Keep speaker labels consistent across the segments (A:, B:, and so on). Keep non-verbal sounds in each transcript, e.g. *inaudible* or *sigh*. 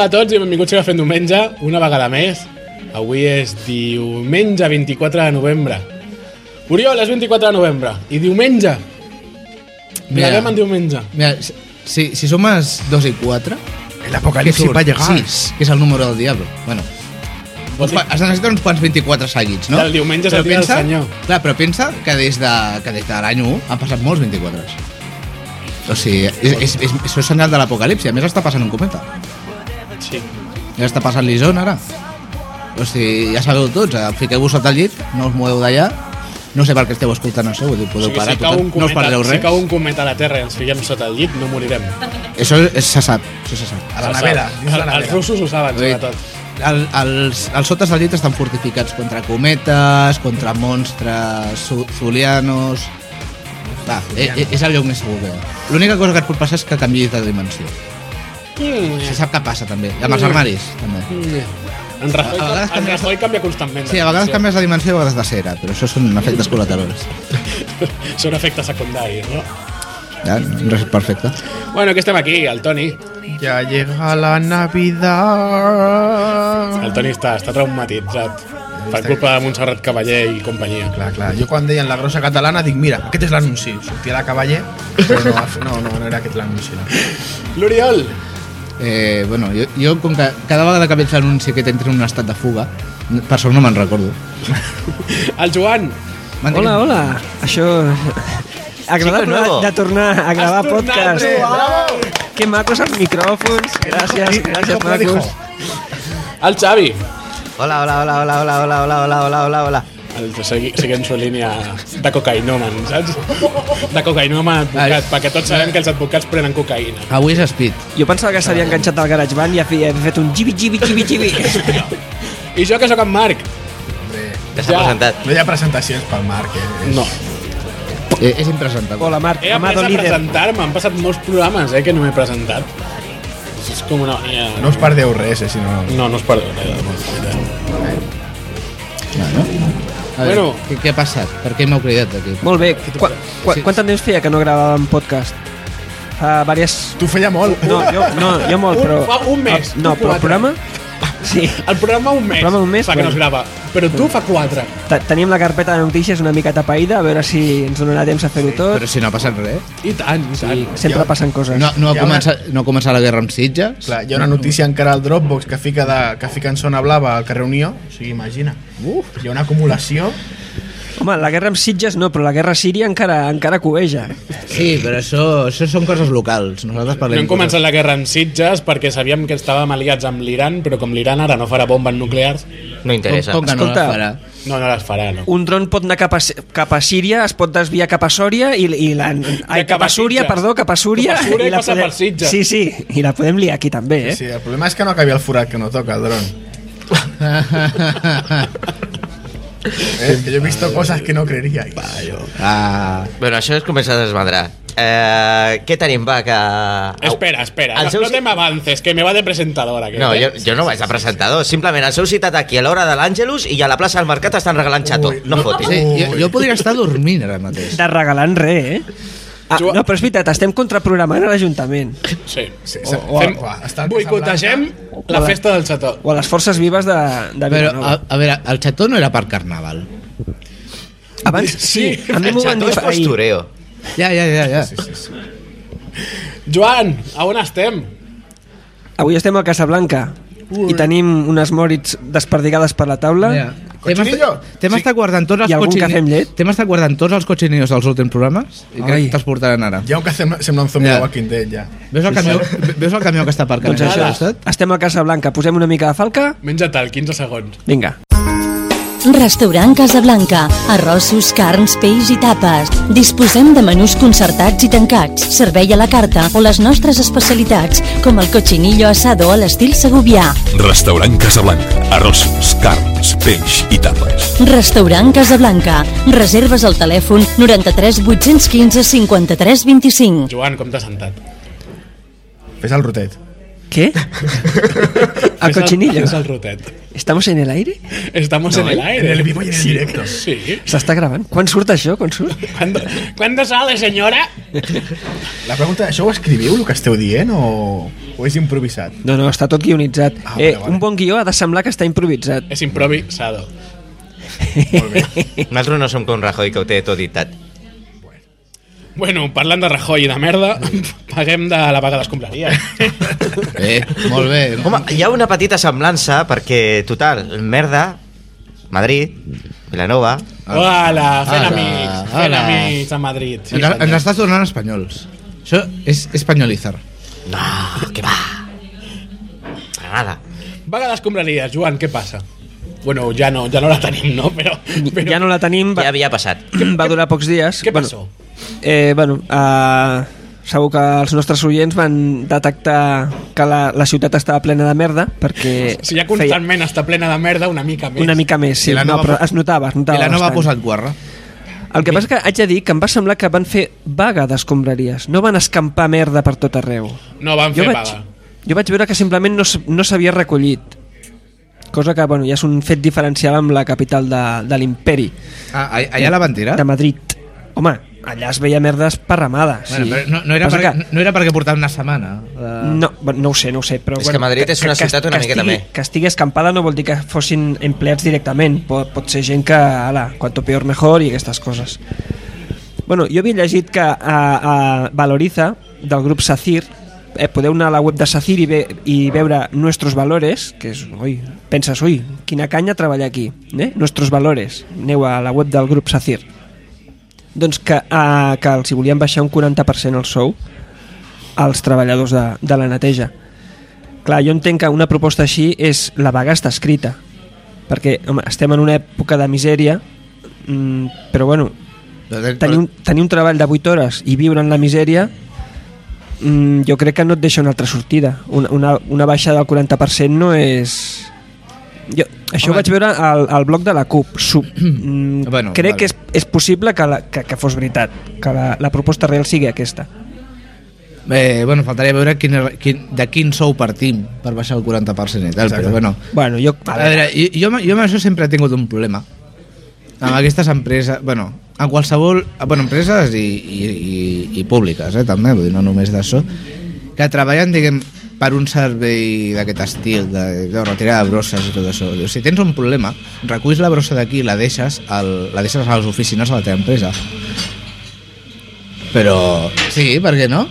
A: a tots i benvinguts a Cafè en Diumenge, una vegada més. Avui és diumenge 24 de novembre. Oriol, és 24 de novembre. I diumenge.
B: Mira.
A: Mirarem en diumenge.
B: Mira, si, si sumas 2 y 4,
C: El
B: que,
C: apocalipsis
B: surt,
C: va a llegar.
B: Sí, que és el número del diable. Bueno,
A: Vol
B: uns,
A: dir
B: pa- has de necessitar uns quants 24 seguits, no?
A: El diumenge és el
B: Però
A: dia del
B: pensa-
A: senyor.
B: Clar, però pensa que des de, que des de l'any 1 han passat molts 24. O sigui, és, és, és, això és senyal de l'apocalipsi. A més, està passant un cometa.
A: Sí.
B: Ja està passant l'Ison, ara. O sigui, ja sabeu tots, eh, fiqueu-vos sota el llit, no us moveu d'allà. No sé per què esteu escoltant això, ho dic,
A: O
B: podeu
A: sigui,
B: parar,
A: si cau,
B: total,
A: un
B: no us
A: cometa,
B: perdeu res.
A: si cau un cometa a la Terra i ens fiquem sota el llit, no morirem.
B: Això és, se sap, això se sap.
C: A la nevera, dins la
A: Els
C: nevera.
A: russos ho saben,
B: Vull dir,
A: sobretot.
B: El, els, els sotes del llit estan fortificats contra cometes, contra monstres, zu- zulianos... Va, e- e- és el lloc més segur que hi ha. L'única cosa que et pot passar és que canviïs de dimensió.
A: Mm.
B: Se sap què passa, també. I amb els armaris, també.
A: En Rajoy,
B: A vegades
A: en
B: canvia-
A: Rajoy canvia constantment.
B: Sí, a vegades
A: Sí.
B: canvies de dimensió i a vegades de cera, però això són efectes col·laterals.
A: *laughs* Són efectes secundaris, no?
B: Ja, no és perfecte.
A: Bueno, que estem aquí, el Toni.
C: Ya llega la Navidad.
A: El Toni està, està traumatitzat per culpa de Montserrat Cavaller i companyia.
C: Clar, clar. Jo quan deien la grossa catalana dic, mira, aquest és l'anunci. Sortia la cavaller, però no, no, no, no era aquest l'anunci. No.
A: L'Oriol!
B: Eh, bueno, jo, jo com que cada vegada que veig l'anunci que t'entra en un estat de fuga, per sort no me'n recordo.
A: El Joan!
B: Mantenir-
D: Hola, hola. Això... Agradable
E: nuevo.
D: de tornar a gravar
A: Has tornat,
D: podcast.
A: eh? Bravo!
D: Que macos els micròfons. Gràcies, gràcies, macos.
A: El Xavi!
E: Hola, hola, hola, hola, hola, hola, hola, hola, hola, hola, hola.
A: El, segui, seguint su línia de cocaïnomen, saps? De cocaïnomen advocat,
B: Ai.
A: perquè tots sabem que els advocats prenen cocaïna.
B: Avui és Speed.
D: Jo pensava que s'havia enganxat al GarageBand i havia fet un gibi, gibi, gibi,
A: *laughs*
D: gibi.
A: I jo que sóc en Marc?
E: Ja s'ha
A: Ja.
E: presentat.
C: No hi ha presentacions pel Marc, eh? És-
A: No.
B: Eh, és impresentable.
D: Hola, Marc,
A: He
D: amado
A: après a
D: líder.
A: presentar-me, han passat molts programes eh, que no m'he presentat. És com una... eh,
C: No us perdeu res, eh, si no...
A: No, no us perdó. Eh,
B: Bueno, a veure,
A: Bueno.
B: què, què ha passat? Per què m'heu cridat aquí?
D: Molt bé. Qu qu
B: Sí.
D: quant temps feia que no gravàvem podcast? Fa diverses...
C: Tu feia molt.
D: No, jo, no, jo molt,
A: Un-
D: però... Ah,
A: fa un mes,
D: No,
A: tu
D: però
A: quatre.
D: el programa... Sí.
A: El programa un mes.
D: El programa un mes,
A: Fa que no es
D: bueno.
A: grava. Però tu fa quatre.
D: Te- Tenim la carpeta de notícies una mica tapaïda, a veure si ens donarà temps a fer-ho tot.
B: Però si no ha passat res.
A: I tant, i tant.
D: Sempre passen coses.
B: No, no, ha
C: Hi ha
B: començat, no ha començat la guerra amb Sitges?
C: Clar, hi ha una notícia encara al Dropbox que fica, de, que fica en zona blava al carrer Unió, o sigui, imagina. Uf. Hi ha una acumulació.
D: Home, la guerra amb Sitges no, però la guerra a Síria encara encara cueja.
B: Sí, però això, això són coses locals. Nosaltres
A: No
B: parlem...
A: hem començat la guerra amb Sitges perquè sabíem que estàvem aliats amb l'Iran, però com l'Iran ara no farà bombes nuclears,
E: No interessa.
B: Com, com que no
D: Escolta.
B: la farà?
A: no, no les farà, no.
D: Un dron pot anar cap a, cap a Síria, es pot desviar cap a Sòria i, i la... Ai, cap a Súria,
A: Sitges.
D: perdó, cap a Súria.
A: Cap a Súria i passa
D: podem...
A: per Sitges.
D: Sí, sí, i la podem liar aquí també, eh?
C: Sí, el problema és que no acabi el forat que no toca el dron.
D: *laughs*
C: Eh, que yo he visto cosas que no creeríais.
B: ah,
E: Bueno, això es comença a desmadrar. Eh, què tenim, va, que... Au.
A: Espera, espera, no,
E: El seu-
A: no m'avances, que me va de presentador aquest.
E: No,
A: eh?
E: jo, jo no vaig de presentador. Simplement els heu citat aquí a l'hora de l'Àngelus i a la plaça del Mercat estan regalant xato.
C: Ui,
E: No
C: no.
E: fotis.
B: sí, jo, jo podria estar dormint ara mateix.
D: De regalant res, eh? Ah,
A: Jo-
D: no, però és veritat, estem contraprogramant a l'Ajuntament
A: Sí.
C: Sí,
A: O, o,
C: fem-
A: fem,
C: uah, està el
A: boicotegem la
D: Hola.
A: festa del xató.
D: o a les forces vives de, de
B: Però, a,
D: Vilanova.
B: a veure, el xató no era per carnaval.
D: Abans, sí, a mi
E: El
D: m'ho van
E: xato
D: dir
E: és
D: ahir.
E: postureo.
B: Ja, ja, ja, ja.
A: Joan, a on estem?
B: eh?
D: Avui estem al Casablanca i tenim unes morits desperdigades per la taula.
B: Ja. T'hem
C: Cochinillo.
B: estat- T'hem estat guardant tots els
D: I algun
B: cochini-
D: cafè amb llet?
B: T'hem estat guardant tots els cochinillos dels últims programes i crec
D: Ai.
B: que te'ls portaran ara.
C: Hi ha un que sembla, sembla un zombie
B: Ja.
C: de Walking Dead, ja.
B: Veus el camió, veus el camió que està aparcat
D: Doncs
B: doncs
D: això,
B: al costat?
D: estem al Casablanca, posem una mica de falca,
A: Menja't el 15 segons.
D: vinga.
F: Restaurant Casablanca. Arrossos, carns, peix i tapes. Disposem de menús concertats i tancats, servei a la carta o les nostres especialitats, com el cochinillo asado a l'estil segubià.
G: Restaurant Casablanca. Arrossos, carns, peix i tapes.
F: Restaurant Casablanca. Reserves al telèfon 93 815 53 25.
A: Joan, com t'has sentat?
C: Fes el rotet.
D: Què? A *laughs*
A: Fes el-
D: cochinillo.
A: Fes el rotet.
D: ¿Estamos en el aire?
A: Estamos en el aire.
C: en el vivo y en el directo.
A: Sí.
D: ¿S'està gravant? Quan surt això? Quan surt?
A: ¿Cuándo, ¿Cuándo sale, señora?
C: La pregunta, això ho escriviu, el que esteu dient, o, o és improvisat?
D: No, no, està tot guionitzat.
C: Ah, vale,
D: eh,
C: vale.
D: Un bon guió ha de semblar que està improvisat.
A: Es improvisado.
E: Nosaltres no som com Rajoy, que ho té tot dictat.
A: Bueno, parlant de Rajoy i de merda, *laughs* paguem de la vaga d'escombraria.
B: Bé, molt bé.
E: Home, hi ha una petita semblança, perquè, total, merda, Madrid, Vilanova...
D: Ah.
A: Hola, fent
B: Hola,
A: amics, fent
B: hola.
A: amics a Madrid.
B: Ens, ens estàs tornant espanyols. Això és espanyolitzar.
E: No, que Ah, va! M'agrada.
A: Vaga d'escombraries, Joan, què passa? Bueno, ja no, ja no la tenim, no? Però, però
D: Ja no la tenim,
E: Ja
D: va,
E: havia passat.
D: va durar pocs dies.
A: què
D: Bueno,
A: passó?
D: Eh, bueno, eh, segur que els nostres oients van detectar que la, la ciutat estava plena de merda perquè
A: *laughs* Si ja constantment està plena de merda, una mica més.
D: una mica més, sí,
B: I la
D: no,
B: nova-
D: però es notava, es
B: I
D: notava
B: la nova ha
D: bastant.
B: posat guarra.
D: El que passa que haig de dir que em va semblar que van fer vaga d'escombraries, no van escampar merda per tot arreu.
A: No van fer vaga.
D: jo vaig veure que simplement no, s- no s'havia recollit, cosa que bueno, ja és un fet diferencial amb la capital de, de l'imperi,
B: Ah, a- allà la van tirar?
D: de Madrid. Home, allà es veia merda esparramada. Sí.
B: Bueno, però no, no, era
D: Passa
B: perquè,
D: que- Eh,
B: no era perquè portava una setmana. La...
D: No, bueno, no ho sé, no ho sé, però...
E: És
D: bueno,
E: que Madrid és una ciutat una miqueta
D: estigui,
E: bé.
D: Que estigui escampada no vol dir que fossin empleats directament. Pot, pot ser gent que, ala, cuanto peor mejor i aquestes coses. Bueno, jo havia llegit que a, a Valoriza, del grup Sacir, eh, podeu anar a la web de Sacir i, ve, i veure Nuestros Valores, que és, ui, penses, ui, quina canya treballar aquí, eh? Nuestros Valores. Aneu a la web del grup Sacir. Doncs que, eh, que els hi volien baixar un 40% el sou als treballadors de, de la neteja. Clar, jo entenc que una proposta així és la vaga està escrita, perquè home, estem en una època de misèria, mm, però bueno, tenir un, tenir un treball de 8 hores i viure en la misèria mm, jo crec que no et deixa una altra sortida una, una, una baixa del 40% no és jo, això ho vaig veure al, al blog de la CUP Sub, mm,
B: Bueno,
D: bueno, crec
B: vale.
D: vale. que és, és possible que, la, que, que fos veritat que la, la proposta real sigui aquesta
B: Eh, bueno, faltaria veure quin, er- quin, de quin sou partim per baixar el 40% i tal, però bueno.
D: bueno, jo,
B: A veure, jo, jo, amb- jo amb això sempre he tingut un problema. Amb aquestes empreses, bueno, a qualsevol... Bueno, empreses i, i, i, i públiques, eh, també, vull dir, no només d'això, que treballen, diguem, per un servei d'aquest estil, de, de retirada de brosses i tot això. Diu, si tens un problema, reculls la brossa d'aquí i la deixes, al, la deixes a les oficines de la teva empresa. Però... Sí, per què no?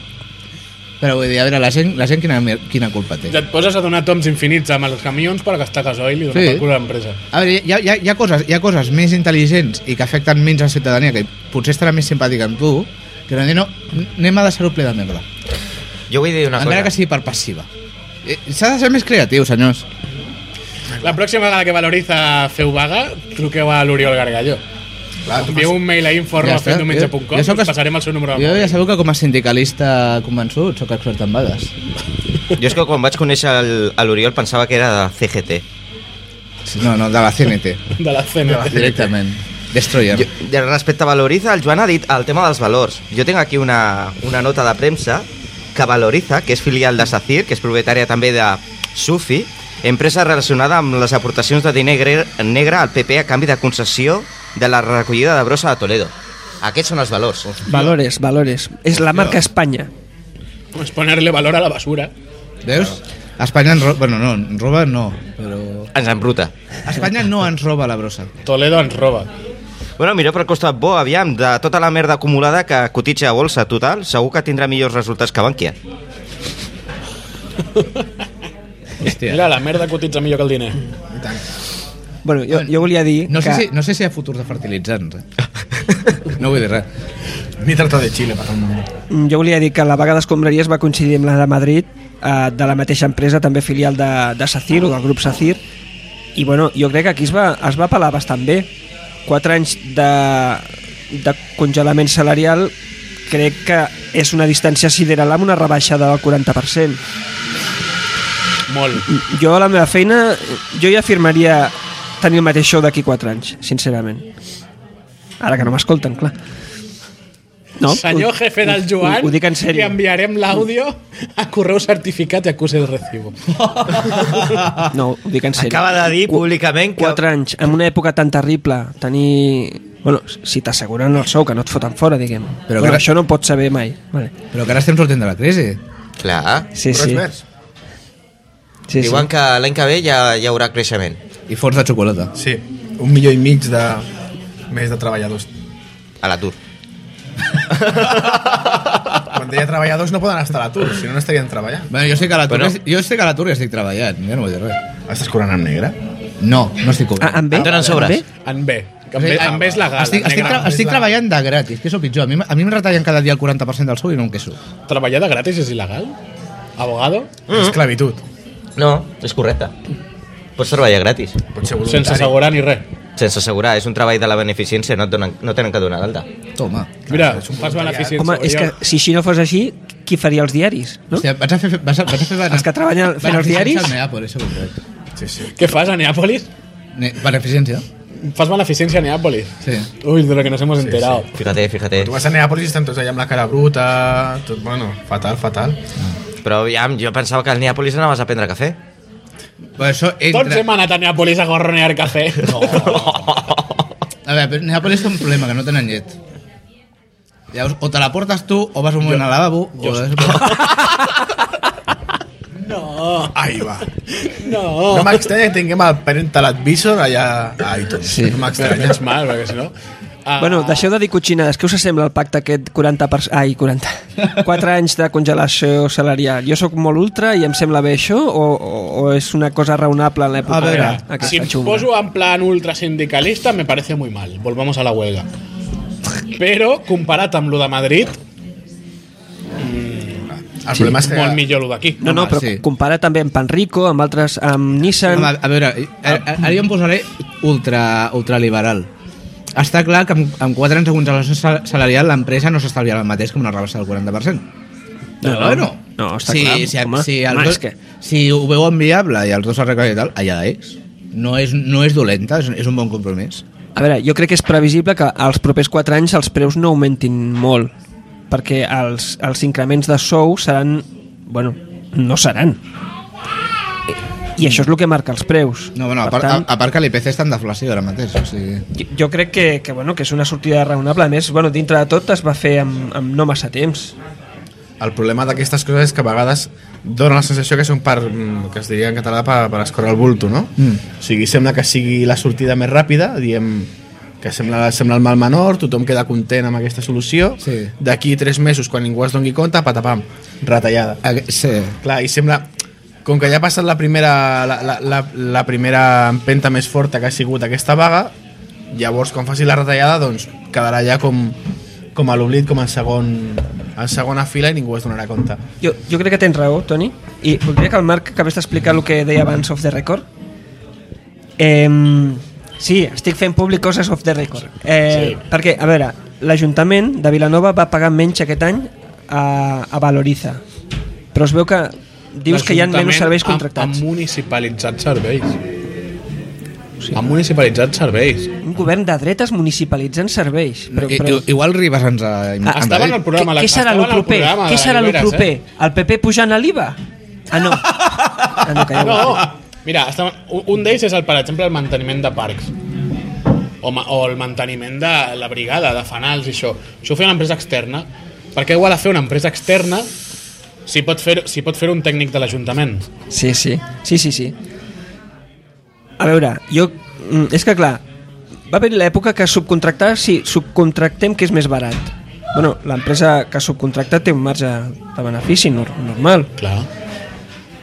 B: Però vull dir, a veure, la gent, la gent quina, mer- quina culpa té?
A: Ja et poses a donar toms infinits amb els camions per gastar gasoil i donar
B: Sí.
A: sí. per cul a l'empresa.
B: A veure, hi ha, hi, ha, hi, ha coses, hi ha coses més intel·ligents i que afecten menys a la ciutadania, que potser estarà més simpàtica amb tu, que no, no anem a deixar-ho ple de merda.
E: Jo vull dir una
B: Encara que
E: cosa.
B: sigui per passiva. Eh, S'ha de ser més creatiu, senyors.
A: La pròxima vegada que Valoritza feu vaga, truqueu a l'Oriol Gargalló.
C: Clar, tu
A: Envieu un mail a info.fendomenja.com ja i us
B: sóc es-
A: doncs passarem el seu número de
B: Jo ja
A: mòbil.
B: sabeu que com a sindicalista convençut sóc expert en vagues.
E: Jo és que quan vaig conèixer el- a l'Oriol pensava que era de CGT.
B: No, no, de la CNT,
A: De la cena.
B: directament. Destroyer.
E: Jo, de respecte a Valoriza, el Joan ha dit el tema dels valors. Jo tinc aquí una, una nota de premsa que Valoriza, que és filial de Sacir, que és propietària també de Sufi, empresa relacionada amb les aportacions de diner gre- negre al PP a canvi de concessió de la recollida de brossa de Toledo. Aquests són els valors.
D: valores, valores és la marca Espanya
A: Pues ponerle valor a la basura.
B: Veus? Espanya ens roba... Bueno, no, ens roba no, però...
E: Ens embruta.
B: Espanya no ens roba la brossa.
A: Toledo ens roba.
E: Bueno, mireu pel costat bo, aviam, de tota la merda acumulada que cotitza a bolsa total, segur que tindrà millors resultats que Bankia.
B: Hòstia.
A: Mira, la merda cotitza millor que el diner.
D: bueno, jo, jo volia dir
B: No sé,
D: que
B: si, no sé si hi ha futur de fertilitzants. Eh? *laughs* No vull dir res.
C: Ni tracta de Xile, per un moment.
D: Mm, Jo volia dir que la vaga d'escombraries va coincidir amb la de Madrid, eh, de la mateixa empresa, també filial de, de Sacir o del grup Sacir, i bueno, jo crec que aquí es va, es va apel·lar bastant bé. Quatre anys de, de congelament salarial crec que és una distància sideral amb una rebaixada del 40%.
A: Molt.
D: Jo a la meva feina, jo ja firmaria tenir el mateix show d'aquí 4 anys, sincerament. Ara que no m'escolten, clar. No,
A: Senyor jefe del Joan,
D: Ho, ho dic en
A: li
D: sèrio.
A: enviarem l'àudio a correu certificat i acuse el recibo.
D: No, ho dic en sèrio.
E: Acaba de dir públicament que...
D: Quatre anys, en una època tan terrible, tenir... Bueno, si t'asseguren el sou, que no et foten fora, diguem.
B: Però
D: Però, Però
B: clar-
D: això no ho pots saber mai. Vale.
B: Però que ara estem sortint de la crisi.
E: Clar.
D: Sí,
C: Però
D: sí.
C: és vers.
D: sí, sí.
E: Diuen que l'any que ve ja hi haurà creixement.
B: I fons de xocolata.
C: Sí, un milió i mig de... més de treballadors.
E: A l'atur.
C: Quan deia treballadors no poden estar a l'atur, si no, no estarien treballant.
B: Bueno, jo sé que a l'atur
E: Però-
B: bueno. jo sé que a l'atur ja estic treballant, jo no vull dir res.
C: Estàs cobrant en negre?
B: No, no estic cobrant.
D: Ah, en B?
E: Em donen sobres.
A: En
D: En B?
A: B. Que en B, en B és legal.
B: Estic, estic, tra
A: negre.
B: estic treballant de gratis, que és el pitjor. A mi, a mi em retallen cada dia el 40% del sou i no em queixo.
A: Treballar de gratis és il·legal? Abogado?
C: Mm. Esclavitud.
E: No, és correcte. Pots treballar gratis.
C: Potser voluntari.
A: Sense assegurar ni res.
E: Sense assegurar, és un treball de la beneficència, no, et donen, no tenen que donar d'alta.
B: Toma.
A: Mira, fas benefici.
D: eh? Home, és que si així no fos així, qui faria els diaris? No?
B: Hòstia, vas a fer... Vas a, vas a fer
D: Els que treballen fent els diaris?
B: Beneficència al Neàpol, això ho crec.
C: Sí, sí.
A: Què fas a Neàpolis?
B: Ne- Beneficència?
A: Fas beneficencia a Neàpolis.
B: Sí.
A: Uy, de lo que nos hemos enterado.
E: Fíjate, fíjate.
C: Tu vas a Neàpolis i estan tots allà amb la cara bruta, tot, bueno, fatal, fatal.
E: Però aviam, jo pensava que al Neàpolis anaves a prendre cafè.
B: Però això
A: Tots
B: entra...
A: hem anat a Neàpolis a gorronear cafè. *laughs* No.
B: A veure, però Neàpolis té un problema, que no tenen llet. Llavors, o te la portes tu, o vas un moment al lavabo, o...
D: *laughs*
B: Vas...
C: Ai, va.
A: No.
C: No m'estranya que tinguem el parental advisor allà a iTunes.
D: Sí.
C: No
A: Però
C: m'estranya.
A: menys mal, perquè si no... Ah,
D: Bueno, deixeu de dir cotxinades. Què us sembla el pacte aquest 40 per... Ai, 40. 4 anys de congelació salarial. Jo sóc molt ultra i em sembla bé això o, o, o és una cosa raonable en l'època?
B: A veure,
D: aquesta
A: si me
D: xunga?
A: poso en plan ultrasindicalista me parece muy mal. Volvamos a la huelga. Pero comparat amb lo de Madrid,
C: El problema és que...
A: molt millor lo d'aquí.
D: No, no,
B: Home,
D: però
B: sí.
D: compara també amb Panrico, amb altres, amb Nissan...
B: Home, a veure, ara, ara jo em posaré ultra, ultraliberal. Està clar que amb, amb 4 anys de congelació sal- salarial l'empresa no s'estalviarà el mateix que amb una rebaixa del 40%.
D: No, no. No, està
B: si,
D: clar,
B: Si,
D: home.
B: si, els
D: Home,
B: dos,
D: és que-
B: si ho veuen viable i els dos arreglen i tal, allà és. No és, no és dolenta, és, és un bon compromís.
D: A veure, jo crec que és previsible que als propers 4 anys els preus no augmentin molt, perquè els, els increments de sou seran... Bueno, no seran. I això és el que marca els preus.
B: No, bueno, a,
D: per
B: part,
D: tant,
B: a, a part que l'IPC està en deflació ara mateix. O sigui...
D: jo, jo crec que, que, bueno, que és una sortida raonable. A més, bueno, dintre de tot es va fer amb, amb no massa temps.
C: El problema d'aquestes coses és que a vegades dona la sensació que són per, mm, que es diria en català, per, per escórrer el bulto, no?
B: Mm.
C: O sigui, sembla que sigui la sortida més ràpida, diem que sembla, sembla el mal menor, tothom queda content amb aquesta solució,
B: Sí.
C: d'aquí tres mesos, quan ningú es doni compte, patapam, retallada.
B: A, sí.
C: Clar, i sembla... Com que ja ha passat la primera, la, la, la, la primera empenta més forta que ha sigut aquesta vaga, llavors quan faci la retallada doncs quedarà ja com, com a l'oblit, com en, segon, en segona fila i ningú es donarà compte.
D: Jo, jo crec que tens raó, Toni, i voldria que el Marc acabés d'explicar el que deia abans off the record. Eh, sí, estic fent públic coses off the record. Eh,
A: Sí.
D: sí. Perquè, a veure, l'Ajuntament de Vilanova va pagar menys aquest any a, a Valoriza, però es veu que dius que hi ha menys serveis contractats.
A: Ha, ha municipalitzat serveis. Sí. Ha municipalitzat serveis.
D: Un Eh, govern de dretes municipalitzant serveis. Però,
B: I,
D: però...
B: i- igual Ribas ens ha...
D: Ah,
B: ens ha
A: estava
B: dit.
A: en el programa, la-
D: què, què
A: estava
D: serà
A: en
D: el
A: el
D: proper?
A: programa de
D: Què
A: la
D: serà el
A: Lloberes,
D: proper?
A: eh?
D: El PP pujant a l'IVA? Ah,
A: *laughs*
D: no. Ah, no, que ja ho he
A: Eh, No,
D: fet.
A: mira, estem, un- un d'ells és, el, per exemple, el manteniment de parcs. O, ma, o el manteniment de la brigada, de fanals i això. Això ho feia una empresa externa. Per què ho ha de fer una empresa externa si pot fer, si pot fer un tècnic de l'Ajuntament?
D: Sí, sí, sí, sí, sí. A veure, jo... mm, És que clar, va haver l'època que subcontractar, sí, subcontractem que és més barat. Bueno, l'empresa que subcontracta té un marge de benefici nor normal.
A: Clar.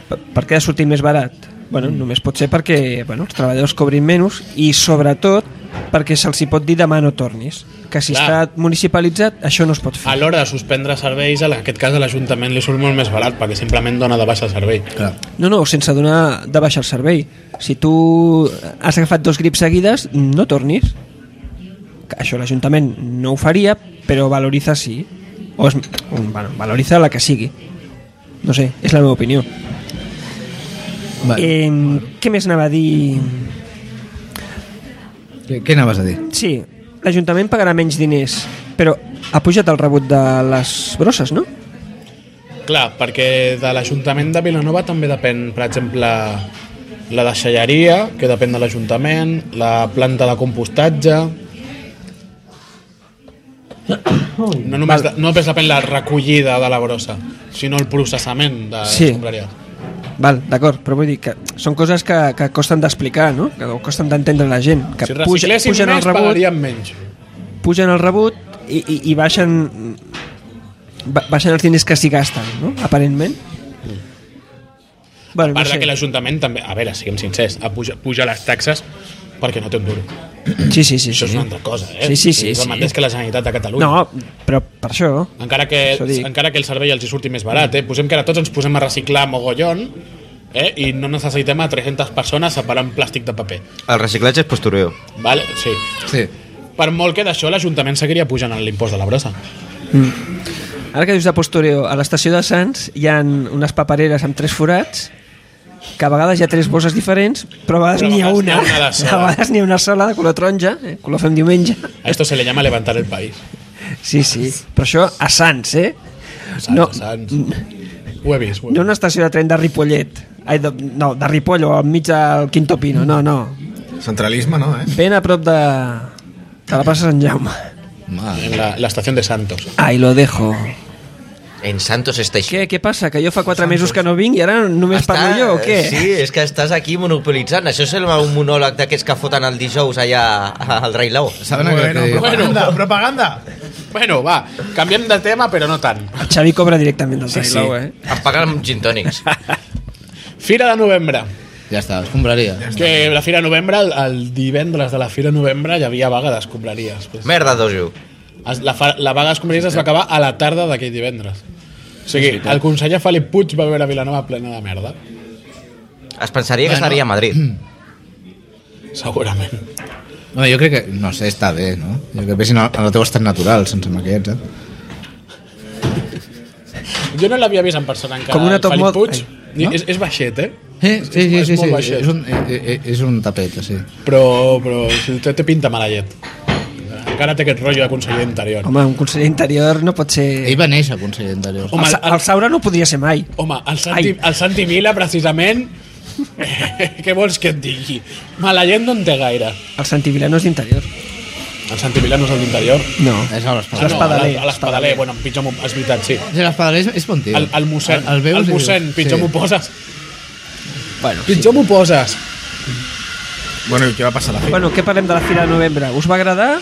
D: Per, per què ha de sortir més barat? Bueno,
A: Mm.
D: només pot ser perquè bueno, els treballadors cobrin menys i sobretot perquè se'ls hi pot dir demà no tornis. Que si
A: Clar.
D: està municipalitzat això no es pot
A: A
D: fer.
A: l'hora de suspendre serveis, en aquest cas a l'Ajuntament li surt molt més barat perquè simplement dona de baixa el servei.
B: Clar.
D: No, no, sense donar de baixar el servei. Si tu has agafat dos grips seguides, no tornis. Que Això l'Ajuntament no ho faria, però valoritza sí. O es, mm, bueno, valoritza la que sigui. No sé, és la meva opinió.
B: Vale.
D: Eh, què més anava a dir?
B: Què, què anaves a dir?
D: Sí, l'Ajuntament pagarà menys diners. Però ha pujat el rebut de les brosses, no?
A: Clar, perquè de l'Ajuntament de Vilanova també depèn, per exemple, la deixalleria, que depèn de l'Ajuntament, la planta de
D: *coughs*
A: compostatge... No només, de, no només depèn la recollida de la brossa, sinó el processament de
D: Sí.
A: l'escombraria.
D: Val, d'acord, però vull dir que són coses que, que costen d'explicar, no? Que costen d'entendre la gent. Que
A: Si
D: puja-
A: recicléssim
D: pugen el
A: més,
D: rebut,
A: pagaríem menys.
D: pugen el rebut i, i, i baixen ba- baixen els diners que s'hi gasten, no? aparentment. Bueno,
A: A part de que l'Ajuntament també... A veure, siguem sincers, a puja, puja les taxes perquè no té un duro.
D: Sí, sí, sí.
A: Això és
D: sí.
A: una altra cosa, eh?
D: Sí, sí, sí,
A: És
D: sí.
A: el mateix que la Ah. Generalitat de Catalunya.
D: No, però per això...
A: Encara que,
D: Això dic.
A: encara que el servei els hi surti més barat, eh? Posem que ara tots ens posem a reciclar mogollon eh? i no necessitem a 300 persones separant plàstic de paper.
E: El reciclatge és postureo.
A: Vale? Sí.
B: Sí.
A: Per molt que d'això l'Ajuntament seguiria pujant en l'impost de la brossa.
D: Ara que dius de postureo, a l'estació de Sants hi han unes papereres amb tres forats que a vegades hi ha tres bosses diferents, però a vegades
A: Però a
D: n'hi ha
A: vegades
D: una.
A: n'hi ha una de sola.
D: A vegades n'hi ha una sola de color taronja, eh? color fem diumenge.
A: A esto se le llama levantar el país.
D: Sí, sí. Però això a Sants, eh?
A: Sants,
D: No.
A: Sants. Ho he vist. Ho he vist.
D: No una estació de tren de Ripollet. Ai, de, no, de Ripoll o al mig del Quinto Pino. No, no.
C: Centralisme, no, eh?
D: Ben a prop de, de la plaça Sant Jaume.
B: Mal.
A: En la, la estació de Santos.
D: Ai, lo dejo.
E: En Santos Station.
D: Què, què passa? Que jo fa quatre mesos que no vinc i ara només parlo jo o què?
E: Sí, és que estàs aquí monopolitzant. Això és el- un monòleg d'aquests que foten el dijous allà al Rei Lau.
B: Saben bueno, que
A: però-
C: propaganda, propaganda!
A: Bueno, va, canviem de tema, però no tant.
D: El Xavi cobra directament del sí,
E: Sí.
D: Trailau, eh?
E: Es paguen amb gin tònics.
A: Fira de novembre.
B: Ja està, escombraria.
A: Que la Fira de Novembre, el, el divendres de la Fira de Novembre, hi havia vaga d'escombraries. Pues.
E: Merda, dojo.
A: Es- La, fa- la vaga d'escombraries es va acabar a la tarda d'aquell divendres. O sigui, el conseller Felip Puig va veure Vilanova plena de merda.
E: Es pensaria que estaria a Madrid.
A: Segurament.
B: No, jo crec que, no sé, està bé, no? Jo crec que vessin al al teu estat natural, sense maquets, eh?
A: Jo no l'havia vist en persona encara.
D: Com una
A: el
D: top
A: Felip
D: mod-
A: Puig,
D: Ai,
A: Ni- és, és baixet, eh?
B: Eh, sí, sí,
A: És
B: sí,
A: molt
B: sí,
A: baixet.
B: és, Eh. un, eh, eh, és un tapet, sí.
A: Però, però si té, té pinta mala llet. Encara té aquest rotllo de conseller interior.
D: Home, un conseller interior no pot ser...
B: Ell va néixer conseller interior.
D: El,
A: Home,
D: Sa- el Saura no podria ser mai.
A: Home, el Santi,
D: Ai.
A: el Santi Vila, precisament... *laughs* què vols que et digui? Mala llet no en té gaire.
D: El Santi Vila no és d'interior.
A: El Santi Vila no és el d'interior.
D: No.
B: És a
A: Ah,
B: l'espadaler.
A: no,
D: l'espadaler,
A: a l'espadaler, bueno, en pitjor m'ho... És veritat, sí.
B: Sí, l'espadaler és, és bon tio.
A: El, el mossèn, el, el,
B: veus i
A: el
B: dius,
A: mossèn, pitjor m'ho poses.
B: Bueno,
A: Pitjor m'ho poses.
C: Bueno, i què va passar a la fira?
D: Bueno, què parlem de la Fira de Novembre? Us va agradar?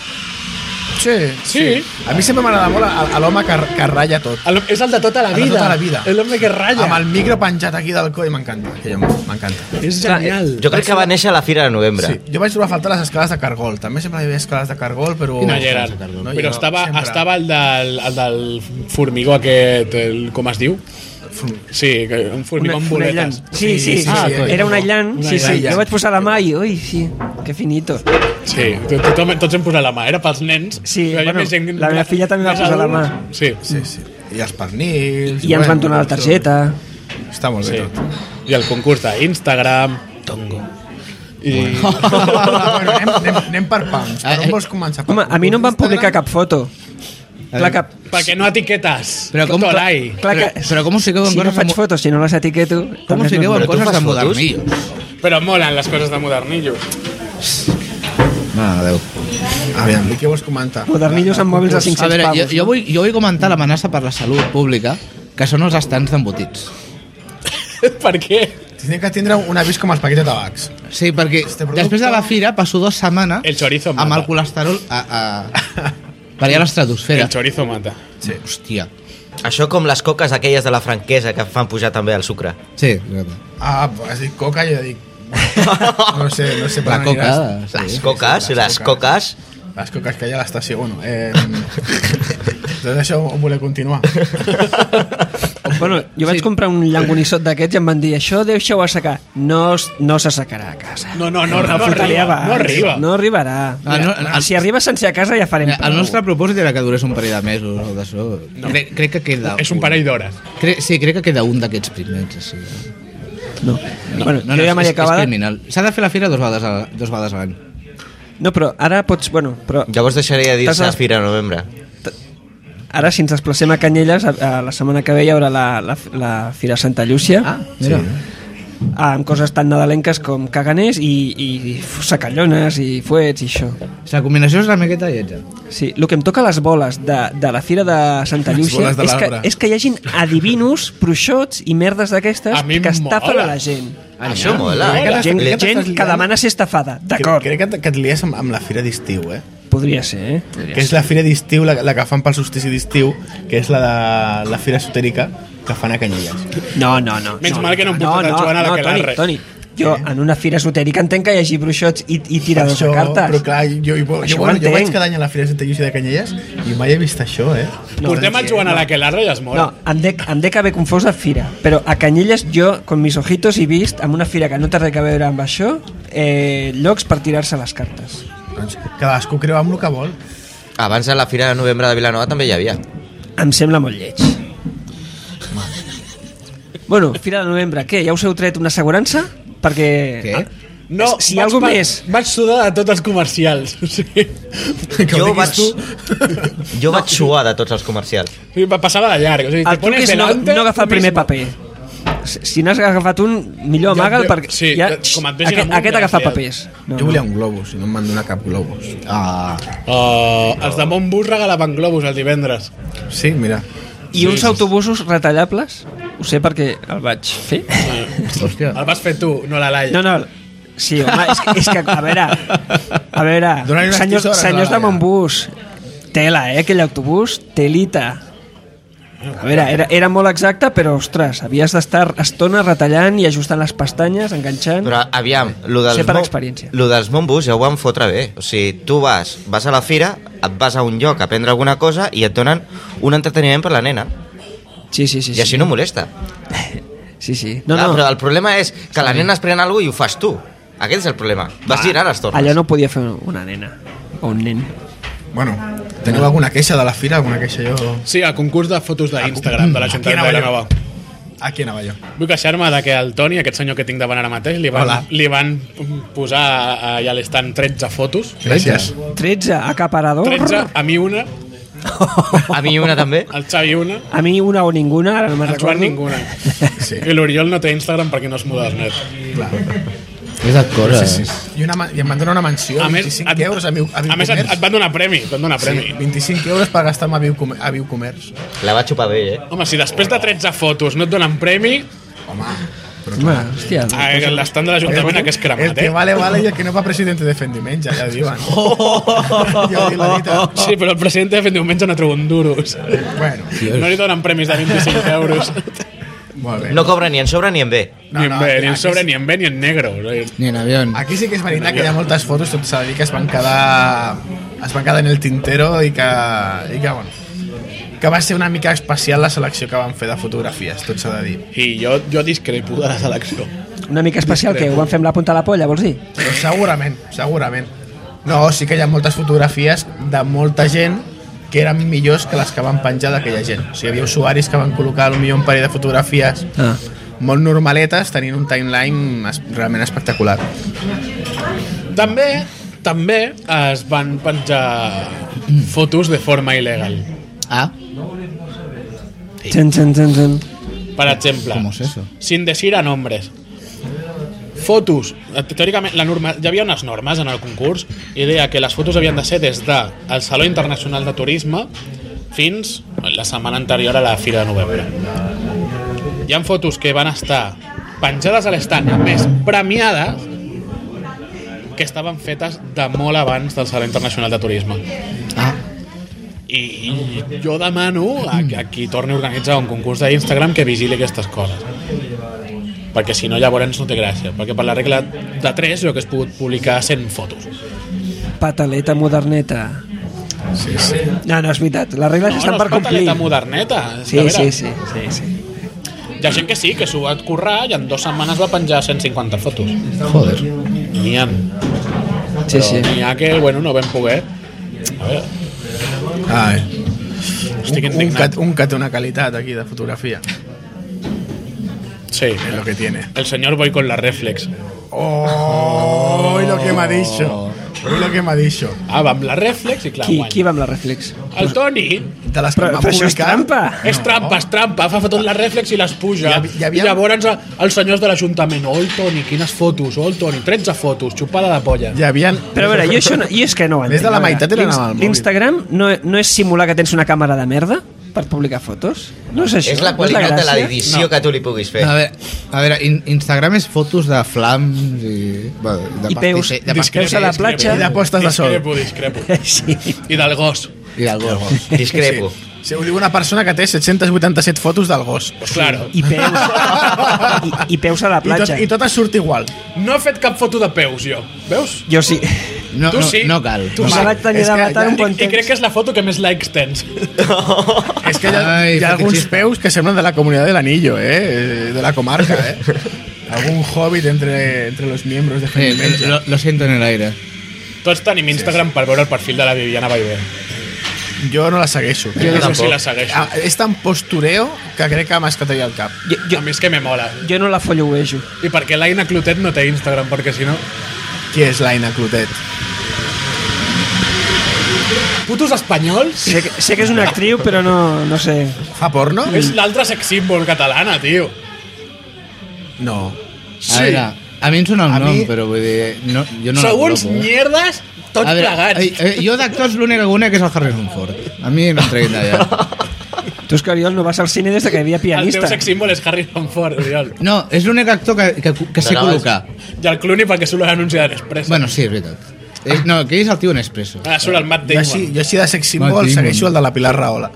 C: Sí,
A: Sí.
C: A mi sempre m'agrada molt a- a l'home que, que ratlla tot.
A: El, és el de tota la
C: El de
A: vida.
C: tota la vida.
A: És l'home que ratlla.
C: Amb el micro penjat aquí del coll, m'encanta. aquell home, M'encanta.
A: És genial.
E: Jo crec que va néixer a la Fira de Novembre.
C: Sí, jo vaig trobar a faltar les escales de cargol. També sempre hi havia escales de cargol, però...
A: No hi eren.
C: No hi
A: Però
C: era,
A: estava,
C: sempre.
A: estava el, del, el del formigó aquest, el, com es diu? Sí, que- un
D: Pues
A: formigó amb boletes.
D: Sí, sí, sí,
A: Ah,
D: sí,
A: coi.
D: era un aïllant.
A: Un
D: Sí, sí,
A: aïllant.
D: jo vaig posar la mà i... Ui, sí, que finito.
A: Sí, to- tothom, tots hem posat la mà. Era pels nens.
D: Sí,
A: Hi havia
D: bueno,
A: més gent-
D: la meva filla també va
A: més
D: posar la mà.
A: adults. Sí,
C: Sí, sí. I els pernils...
D: I ens van donar la targeta.
C: Tot. Està molt
A: sí.
C: bé
D: *laughs*
C: tot.
A: I el concurs d'Instagram. Tongo. I...
C: bueno, anem, anem, anem per pams. Per
B: Eh, eh.
C: on vols començar? Per
D: Home, a mi no em van publicar cap foto.
A: Eh?
D: Clar que,
A: Perquè no etiquetes.
B: Però com-
A: Tolai.
D: clar que
B: Però- però com us fiqueu en
D: si no
B: coses
D: faig
B: amb-
D: fotos, si no les etiqueto...
B: Com
D: també
B: us
D: és
B: fiqueu en
E: Però tu
B: coses
E: fas
B: de
E: fotos?
B: modernillos?
A: Però molen les coses de *laughs* modernillos.
B: No, adeu.
C: Aviam, i què vols comentar?
D: Modernillos amb mòbils de
B: A
D: 500
B: veure, jo,
D: pavos.
B: jo, vull, jo vull comentar l'amenaça per la salut pública, que són els estants d'embotits.
A: per què?
C: Tindrem que tindre un avís com els paquets de tabacs.
B: Sí, perquè
C: Este producte-
B: després de la fira passo dues setmanes
A: El chorizo
B: amb
A: mata.
B: el colesterol a, a,
A: *laughs*
B: per allà a l'estratosfera.
A: El chorizo mata.
C: Sí.
B: Hòstia.
E: Això com les coques aquelles de la franquesa que fan pujar també el sucre.
B: Sí, exacte.
C: Ah, has dit coca i jo *laughs* dic... No sé, no sé per
B: La
C: on
B: coca,
C: aniràs.
B: sí.
E: Les coques,
C: sí,
E: les coques...
C: Les coques que hi ha a l'estació, bueno. *laughs* Eh, doncs això ho voler continuar.
E: *laughs*
D: Bueno, jo vaig
B: Sí.
D: comprar un llangonissot d'aquests i em van dir això deixeu assecar. No, s- no s'assecarà a casa.
A: No, no, no,
D: El
A: no, no
D: fotré
A: arriba.
D: abans.
A: No arriba.
D: No arribarà.
B: Ah, no,
D: Mira,
B: el-
D: Si arriba sense a casa ja farem
B: Mira, El
D: prou.
B: nostre propòsit era que durés un parell de mesos o d'això. No. Crec, crec que queda...
A: És un parell d'hores.
B: Cre sí, crec que queda un d'aquests primers. Així.
D: No. Bueno,
B: no, no,
D: jo ja m'he
B: és, és
D: acabat.
B: criminal. S'ha de fer la fira dos vegades, a, dos vegades a l'any.
D: No, però ara pots... Bueno, però
E: Llavors deixaré de dir-se
D: T'has-
E: Fira de Novembre.
D: t- Ara, si ens desplacem a Canyelles, a, a la setmana que ve hi haurà la, la, la Fira Santa Llúcia. Ah,
B: Mira.
D: amb coses tan nadalenques com caganers i, i, i sacallones i fuets i això.
B: La combinació és la miqueta lletja.
D: Sí, el que em toca les boles de, de la Fira de Santa Llúcia
C: boles de
D: és que,
C: l'arbre.
D: és que hi hagin adivinos, bruixots i merdes d'aquestes
A: A mi em
D: que estafen
A: mola.
D: a la gent.
E: Això mola.
C: Crec que
D: Gent,
C: crec
D: gent
C: t'estàs liant-
D: que demana ser estafada, d'acord,
C: Crec que, t- que et lies amb, amb la fira d'estiu, eh?
D: podria ser, eh?
C: que és la fira d'estiu, la, la que fan pel solstici d'estiu, que és la de la fira esotèrica que fan a Canyelles.
D: No, no, no.
A: Menys mal que no em portes el Joan a la
D: no,
A: que
D: Toni,
A: l'arre. Eh?
D: Toni, jo en una fira esotèrica entenc que hi hagi bruixots i, i tiradors de cartes.
C: però clar, jo, jo,
D: Això
C: jo,
D: ho
C: bueno, jo
D: entenc.
C: vaig cada any a la fira de Santa Llúcia de Canyelles i mai he vist això, eh?
A: No, Portem el Joan a la que l'arre i es mor.
D: No, em dec, em dec haver confós de fira, però a Canyelles jo, con mis ojitos, he vist, amb una fira que no té res a veure amb això, eh, llocs per tirar-se les cartes.
C: Doncs cadascú creu amb el que vol.
E: Abans a la Fira de Novembre de Vilanova també hi havia.
D: Em sembla molt lleig. Bueno, fira de novembre, què? Ja us heu tret una assegurança? Perquè...
B: Què?
D: Ah,
A: No,
D: si hi
A: vaig
D: ha algú
A: pa-
D: més...
A: Vaig sudar de tots els comercials. *laughs* O sigui, que ho
E: Jo
A: diguis
E: vaig,
A: tu.
E: *laughs* jo vaig suar de tots els comercials.
A: O sigui, passava de llarg. O sigui,
D: El
A: te
D: truc
A: pones
D: és no,
A: delante,
D: no agafar el
A: tu
D: primer
A: mismo.
D: paper. Si si n'has agafat un, millor
A: Ja,
D: amaga'l
A: ja,
D: perquè
A: sí,
D: ja,
A: ja, com et vegin
D: aquest,
A: amunt,
D: aquest
A: ja
D: agafa
A: has liat.
D: papers. No,
C: Jo volia un globus i no em van donar cap globus.
B: Ah.
A: Oh, els de Montbus regalaven globus els divendres.
C: Sí, mira.
D: no. I uns autobusos retallables? Ho sé perquè el vaig fer.
B: Hòstia.
A: El vas fer tu, no la Laia.
D: No, no, sí, home, és que, és que a veure, a veure,
C: *laughs* Dóna-li unes
D: senyors,
C: tisores a la
D: senyors de
C: Laia.
D: Montbús, tela, eh, aquell autobús, telita. A veure, era, era molt exacte, però, ostres, havies d'estar estona retallant i ajustant les pestanyes, enganxant...
E: Però aviam, lo dels,
D: Sé per
E: Mon-
D: experiència.
E: lo dels Montbus ja ho van fotre bé. O sigui, tu vas, vas a la fira, et vas a un lloc a prendre alguna cosa i et donen un entreteniment per la nena.
D: Sí, sí, sí.
E: I així
D: sí.
E: no molesta.
D: Sí, sí. No,
E: Clar,
D: no,
E: Però el problema és que la nena es pren alguna i ho fas tu. Aquest és el problema. Vas girar les tornes.
D: Ah, allò no podia fer una nena o un nen.
C: Bueno, teniu alguna queixa de la fira? Alguna queixa jo...
A: Sí, el concurs de fotos
D: Mm,
A: d'Instagram de l'Ajuntament de
C: Aquí anava
A: Vilanova.
C: Aquí anava jo.
A: Vull queixar-me de que el Toni, aquest senyor que tinc davant ara mateix, li van,
C: Hola.
A: li van posar eh, allà a l'estant 13 fotos.
C: Gràcies.
D: 13, acaparador.
A: 13, a mi una,
E: A mi una també.
A: al Xavi una,
D: A mi una o ninguna, ara no me'n
A: al
D: recordo.
A: Joan ninguna.
C: Sí.
A: I l'Oriol no té Instagram perquè no es muda del net.
B: És et cosa. Sí, sí.
C: I, una, ma- I em van donar una menció,
A: A
C: a
A: més,
C: 25
A: et-
C: euros a Viu, a Viu
A: A més, et, et van donar premi, et van donar premi.
C: Sí, 25 euros per gastar-me a Viu, Comer- a Viu Comerç.
E: La va xupar bé, eh?
A: Home, si després de 13 fotos no et donen premi,
C: Home, però
D: Home, hòstia.
A: a l'estant de l'Ajuntament aquest és
C: El
A: cremat,
C: que
A: eh?
C: vale, vale, i el que no va presidente de fent diumenge, ja ho
A: *laughs*
C: diuen. ja ho diu la dita.
A: Sí, però el president de fet diumenge no treu un duro. No
C: Bueno,
A: li donen premis de 25 euros.
C: molt bé.
E: No cobra ni en sobre ni en bé.
C: No,
A: ni en
C: no,
A: bé, ni en
C: aquí
A: sobre,
C: sí.
A: ni en bé, ni en negro. O sigui,
B: Ni en avió.
C: Aquí sí que és veritat que hi ha moltes fotos, tot s'ha de dir que es van quedar, es van quedar en el tintero i que, i que, bueno, que va ser una mica especial la selecció que van fer de fotografies, tot s'ha de dir.
A: I jo, jo discrepo de la selecció.
D: Una mica especial, que ho van fer amb la punta de la polla, vols dir?
C: Però segurament, segurament. No, sí que hi ha moltes fotografies de molta gent que eren millors que les que van penjar d'aquella gent. O sigui, hi havia usuaris que van col·locar potser un parell de fotografies
D: Ah.
C: molt normaletes, tenint un timeline es- realment espectacular.
A: També, també es van penjar fotos de forma il·legal.
B: Ah,
D: Txan, txan, txan, txan.
A: Per exemple,
B: ¿cómo es eso?
A: sin decir a nombres. Fotos, Eh, teòricament, la norma, hi havia unes normes en el concurs i deia que les fotos havien de ser des de el Saló Internacional de Turisme fins la setmana anterior a la Fira de Novembre. Hi han fotos que van estar penjades a l'estand, a més premiades, que estaven fetes de molt abans del Saló Internacional de Turisme.
B: Ah.
A: I jo demano a, a qui torni a organitzar un concurs d'Instagram que vigili aquestes coses. Perquè si no, llavors no té gràcia. Perquè per la regla de 3 jo que he pogut publicar 100 fotos.
D: Pataleta moderneta.
C: Sí, sí.
D: No, no, és veritat. Les regles
A: No,
D: estan
A: no,
D: per
A: és
D: complir.
A: pataleta moderneta. és
D: Sí,
A: que, a
D: sí,
A: veure,
D: sí, sí, sí.
A: Hi ha gent que sí, que s'ho va currar i en dues setmanes va penjar 150 fotos.
B: Joder.
A: N'hi ha.
D: sí, sí.
A: N'hi ha que, bueno, no vam poder. A veure,
C: Ai.
A: estic
C: Ah, eh. un, un, que,
A: indignat.
C: un que té una qualitat aquí de fotografia,
A: Sí,
C: és lo que tiene.
A: el senyor Boy con la reflex.
C: Oh, lo que m'ha dicho. Vull el que m'ha dit això.
A: Ah, va amb la reflex i clar,
D: Qui,
A: guanya.
D: qui va amb la reflex?
A: El Toni
C: De les que
D: Però,
C: em va
D: però això és
C: publicar-
D: trampa.
A: és trampa, és trampa, fa fotos la reflex i les puja.
C: Hi
A: Ja,
C: havia- hi havia-
A: I llavors eh, els senyors de l'Ajuntament, oh, el Toni, quines fotos, oh, el Toni, 13 fotos, xupada de polla.
C: Hi havia...
D: Però a veure, jo això no, jo és que no ho entenc.
C: Més de la
D: a veure,
C: meitat eren
D: l'ins-
C: amb el mòbil.
D: L'Instagram no, no és simular que tens una càmera de merda per publicar fotos? No és això.
E: És la
D: no
E: qualitat de
D: gràcia?
E: l'edició que tu li puguis fer.
B: A veure, a veure in- Instagram és fotos de flams i... Bé, de
D: I peus.
B: pastisse- de
D: Discrepo,
B: pastisse-
D: a la platja.
C: I de postes de sol.
A: Discrepo, discrepo.
D: *laughs* Sí.
A: I del gos.
B: I del gos.
E: Discrepo.
C: Sí. Sí, ho diu una persona que té 787 fotos del gos.
A: Pues claro.
D: I peus. I, *laughs* I peus a la
C: I, tot,
D: platja.
C: I totes surt igual.
A: No he fet cap foto de peus, jo. Veus?
D: Jo sí.
B: No,
A: Tu
B: no,
A: sí.
B: no cal.
A: Tu
B: no
A: sí.
D: Me
B: cal.
D: vaig tenir
C: és
D: de
C: que
D: matar
C: ja-
D: un bon
A: I crec que
D: temps.
A: és la foto que més likes tens.
C: És que hi ha,
B: Ai,
C: hi ha alguns
B: fetichista.
C: peus que semblen de la comunitat de l'anillo, eh? De la comarca, *laughs* eh? Algun hobbit entre, entre los miembros de
B: Eh,
C: Gente Menja.
B: lo, lo siento en el aire.
A: Tots tenim Instagram per veure el perfil de la Viviana Baiver.
C: Jo no la segueixo.
A: Jo no sé
E: tampoc.
A: si la segueixo.
C: Ah, És tan postureo que crec que m'ha escatat al cap.
D: Jo,
A: A
D: jo,
A: mi és que me mola.
D: jo no la followejo.
A: I perquè l'Aina Clotet no té Instagram, perquè si no...
C: Qui és l'Aina Clotet?
A: Putos espanyols?
D: Sé que, sé que és una actriu, però no, no sé.
C: Fa porno?
A: És l'altre sex symbol catalana, tio.
C: No.
B: A veure, a mi em sona el
C: A
B: nom,
C: mi-
B: però vull dir... No, jo no la
A: Segons
B: col·loco, eh.
A: mierdes, tot
B: A veure,
A: plegat.
B: ai, eh, jo d'actors l'únic que conec és el Harrison Ford. A mi no em treguin d'allà.
A: *laughs*
D: Tu és que Oriol no vas al cine des de que hi havia
A: El teu
D: pianista.
A: sex symbol és Harrison Ford, Oriol.
B: No, és l'únic actor que, que, que sé
E: No, no,
B: col·locar.
A: I el Clooney perquè surt l'anuncia de Nespresso.
B: Bueno, sí, és veritat. Eh, No, que és el tio Nespresso.
A: Ara surt el Matt
C: Jo
A: Damon.
C: així, jo així de sex
B: Matt
C: symbol
B: Damon.
C: segueixo el de la Pilar Rahola.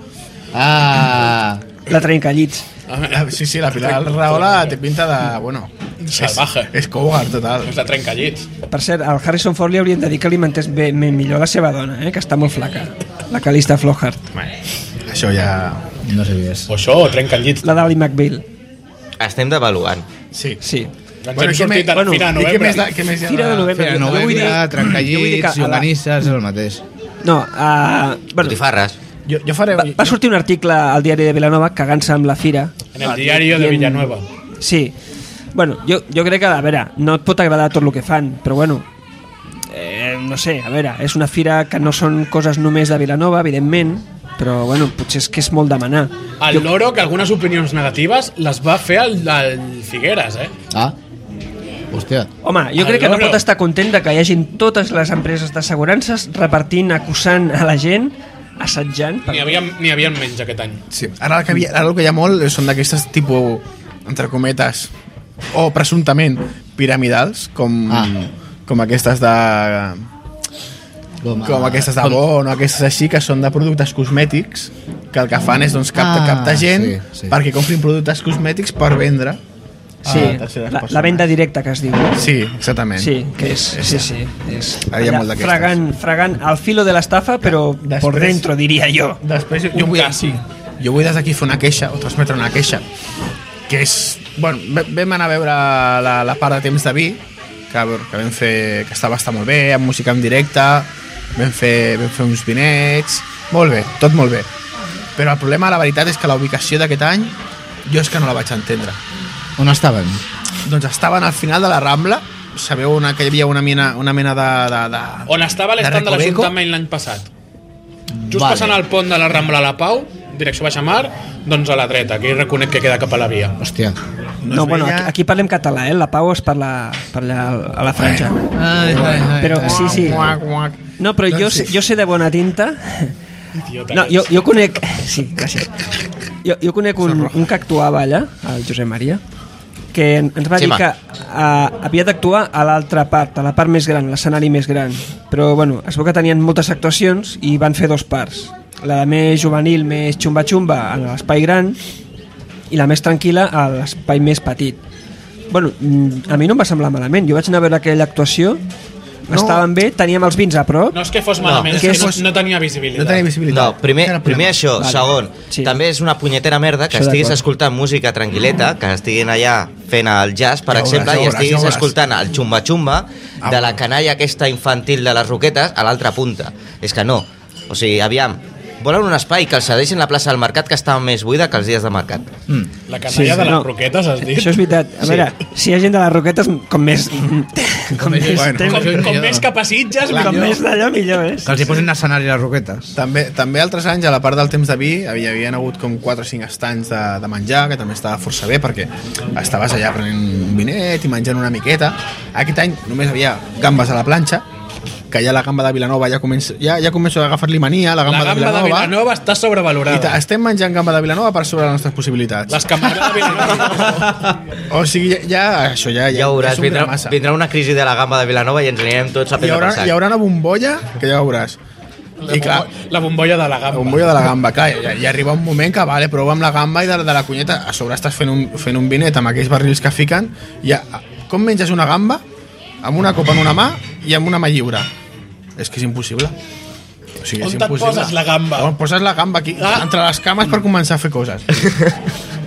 B: Ah,
D: La trencallits.
A: Ah, eh.
C: La- Ah, Sí, sí, la
D: *laughs*
C: Pilar Rahola té pinta de... Bueno,
A: Salvaje.
C: és cougar, total.
A: És Doncs de trencallits.
D: Per cert, al Harrison Ford li haurien de dir que alimentés bé, bé, millor la seva dona, eh? que està molt flaca. La Calista Flockhart.
C: Això ja...
B: no sabies.
A: O això, o trencallits.
D: La d'Ali McBeal.
E: Estem devaluant.
C: Sí.
D: Sí.
A: Ens hem sortit de la
D: bueno,
A: fira de
C: I què
A: novembre.
C: més, de- què més hi ha?
D: Fira de novembre.
B: Fira
D: Jo vull
B: novella,
D: dir- jo vull dir que
B: trencallits,
D: a la-
B: llonganisses, és el mateix.
D: No, uh, bueno,
E: Botifarres.
C: Jo, jo faré...
D: va, va sortir un article al diari de Vilanova cagant-se amb la fira.
A: En el diari de
D: Dient-
A: Villanueva.
D: Sí. Bueno, jo, jo crec que, a veure, no et pot agradar tot el que fan, però bueno, eh, no sé, a veure, és una fira que no són coses només de Vilanova, evidentment, però bueno, potser és que és molt demanar.
A: El Loro, que algunes opinions negatives les va fer al, al Figueres, eh?
B: Ah, hòstia.
D: Home, jo
A: El
D: crec que no
A: loro.
D: pot estar content de que hi hagin totes les empreses d'assegurances repartint, acusant a la gent, assetjant...
A: N'hi havia, n'hi havia menys aquest any.
C: Sí. Ara, el que, havia, ara el que hi ha molt són d'aquestes tipus, entre cometes, o presumptament piramidals, com,
B: Ah.
C: com aquestes de...
B: Com,
C: Com aquestes de Bon o aquestes així, que són de productes cosmètics, que el que fan és doncs, captar,
B: Ah,
C: captar gent
B: sí, sí.
C: perquè comprin productes cosmètics per vendre.
D: Sí,
C: a terceres
D: la, la
C: persones.
D: venda directa que es diu.
C: Sí, exactament.
D: Sí, que és, sí, sí, és
C: Ara hi ha
D: allà,
C: molt d'aquestes.
D: fregant, fregant al filo de l'estafa, però
C: Després-
D: por dentro, diria jo.
C: Després jo, jo vull, sí. jo vull des d'aquí fer una queixa o transmetre una queixa que és, bueno, ve- vam anar a veure la, la part de temps de vi que, que vam fer, que estava estar molt bé amb música en directe vam fer, vam fer uns vinets molt bé, tot molt bé però el problema la veritat és que la ubicació d'aquest any jo és que no la vaig entendre
B: On estaven?
C: doncs estaven al final de la Rambla sabeu una, que hi havia una mena, una mena de, de, de
A: On estava l'estat de
C: Recoveco?
A: l'Ajuntament l'any passat. Just
B: Vale.
A: passant el pont de la Rambla a la Pau, direcció Baixamar, doncs a la dreta, que reconec que queda cap a la via.
B: Hòstia.
D: No, no
C: es
D: bueno,
C: veia-
D: aquí, aquí parlem català, eh? La Pau es parla per allà a la franja.
B: Ai, ai, ai.
D: *laughs* Però
C: Ah.
D: sí, sí.
C: Guac, guac.
D: No, però jo, sé- jo sé de bona tinta.
A: Idiota
D: No,
A: que
D: jo,
A: ets.
D: jo conec... *laughs* Sí, gràcies. Jo, jo conec un, un que actuava allà, el Josep Maria, que en- ens va dir
E: Xema.
D: que uh, havia d'actuar a l'altra part, a la part més gran, l'escenari més gran. Però, bueno, es veu que tenien moltes actuacions i van fer dos parts. La més juvenil, més xumba-xumba, a l'espai gran, i la més tranquil·la a l'espai més petit. Bueno, mm, a mi no em va semblar malament. Jo vaig anar a veure aquella actuació, no. estàvem bé, teníem els vins a prop,
A: No és que fos malament,
D: No,
A: és que,
D: és que fos-
A: no, no tenia visibilitat.
C: no tenia
E: No,
C: visibilitat
E: primer,
C: Era el problema.
E: primer això,
D: Vale.
E: vale. segon,
D: Sí.
E: sí. també és una punyetera merda que
D: Això
E: estiguis
D: d'acord.
E: escoltant música tranquil·leta, que estiguin allà fent el jazz, per
C: Ja veuràs,
E: exemple,
C: ja
E: i
C: veuràs, ja
E: estiguis
C: veuràs. Ah.
E: escoltant el xumba-xumba de la canalla aquesta infantil de les roquetes a l'altra punta. És que no. O sigui, aviam, volen un espai que els cedeixin la plaça del mercat que està més buida que els dies de mercat.
A: La canalla
D: Sí,
A: de les
D: no.
A: croquetes, has dit?
D: Això és veritat. A veure, si hi ha gent de les roquetes, com més... Com més,
B: bueno,
D: temps,
A: Com, com més que passitges,
D: com
A: millor.
D: més d'allò, millor és.
B: Que els hi posin escenari a les roquetes.
C: També, també altres anys, a la part del temps de vi, hi havia hagut com 4 o 5 estanys de, de menjar, que també estava força bé, perquè estaves allà prenent un vinet i menjant una miqueta. Aquest any només havia gambes a la planxa, que ja la gamba de Vilanova ja comença, ja, ja començo a agafar-li mania, la
A: La
C: gamba,
A: gamba de Vilanova, està
C: I ta-
A: sobrevalorada.
C: estem menjant gamba de Vilanova per sobre les nostres possibilitats.
A: Les camarades de Vilanova.
C: O sigui, ja, ja això ja, ja,
E: Ja ho veuràs,
C: és un
E: vindrà,
C: dramassa.
E: vindrà una crisi de la gamba de Vilanova i ens anirem tots a
C: Hi
E: prendre
C: haurà,
E: pel sac.
C: hi haurà una bombolla que ja veuràs. *laughs* I clar,
A: La bombolla de la
C: La
A: gamba.
C: bombolla de la gamba, clar, ja, ja arriba un moment que vale, prova amb la gamba i de, de la cunyeta a sobre estàs fent un, fent un vinet amb aquells barrils que fiquen i ja, com menges una gamba? Amb una copa en una mà i amb una mà lliure és que és impossible o sigui,
A: On te't poses la gamba?
C: On poses la gamba aquí,
A: Ah.
C: entre les cames per començar a fer coses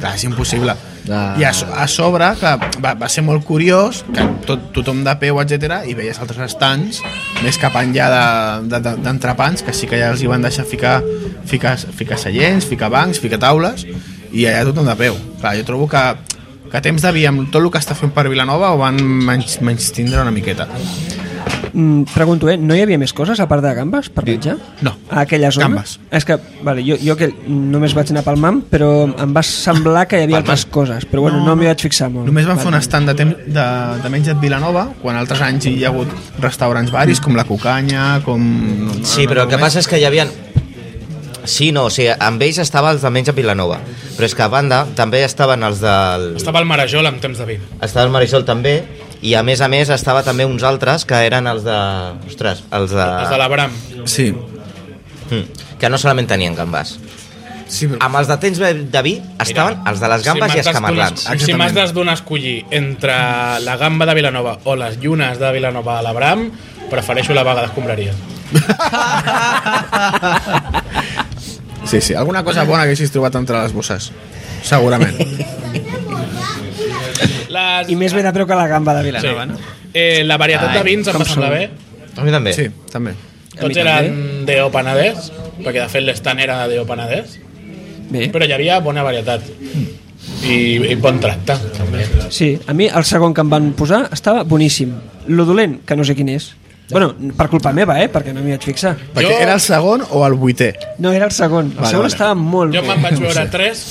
C: clar, és impossible
B: Ah.
C: i a, so- a sobre que va, va ser molt curiós que tot, tothom de peu, etc i veies altres estants més cap enllà de- de- de- d'entrepans de, que sí que ja els hi van deixar ficar, ficar, ficar seients, ficar bancs, ficar taules i allà tothom de peu clar, jo trobo que que a temps de vi amb tot el que està fent per Vilanova ho van menys, menys tindre una miqueta
D: Mm, pregunto, eh, no hi havia més coses a part de gambes per menjar?
C: No.
D: A aquella zona?
C: Gambes.
D: És que, vale, jo, jo que només vaig anar pel MAM, però em va semblar que hi havia altres coses, però bueno, no, no m'hi vaig fixar molt.
C: Només van
D: Vale.
C: fer un estand de, temps, de, de menja de Vilanova, quan altres anys hi ha hagut restaurants baris, com la Cucanya, com... Ah,
E: Sí, però el que passa és que hi havia... Sí, no, o sigui, amb ells estava els de menys a Vilanova, però és que a banda també estaven els del...
A: Estava el Marajol amb temps de vi.
E: Estava el Marisol també, i a més a més estava també uns altres que eren els de... Ostres, els de...
C: Ah.
A: Els de l'Abram.
C: Sí,
E: Mm, que no solament tenien gambes.
C: sí però...
E: Amb els de temps de vi estaven
A: Mira,
E: els de les gambes i
A: m'has
E: els camarlans.
A: d'escollir- Si m'has
C: Exactament.
A: d'es donar a escollir entre la gamba de Vilanova o les llunes de Vilanova a l'Abram, prefereixo la vaga d'escombraria.
C: *laughs* Sí, sí, alguna cosa bona que haguessis trobat entre les bosses. Segurament.
A: Les...
D: I més ben a preu que la gamba de Vilanova, no?
A: Eh, la varietat
E: Ai,
A: de vins em
D: com
A: va semblar
D: són.
A: bé.
E: A mi també.
C: Sí, també.
D: A mi
A: Tots eren de Opanadès, perquè de fet l'estant era de Opanadès,
D: Bé.
A: però hi havia bona varietat. I, i bon tracte, també.
D: Sí, a mi el segon que em van posar estava boníssim. Lo dolent, que no sé quin és. Bueno, per culpa meva, eh, perquè no m'hi vaig fixar.
C: Perquè
A: Jo-
C: era el segon o el vuitè?
D: No, era el segon. El
C: Vale,
D: segon
C: vale.
D: estava molt
A: Jo
D: bé.
A: me'n vaig veure tres,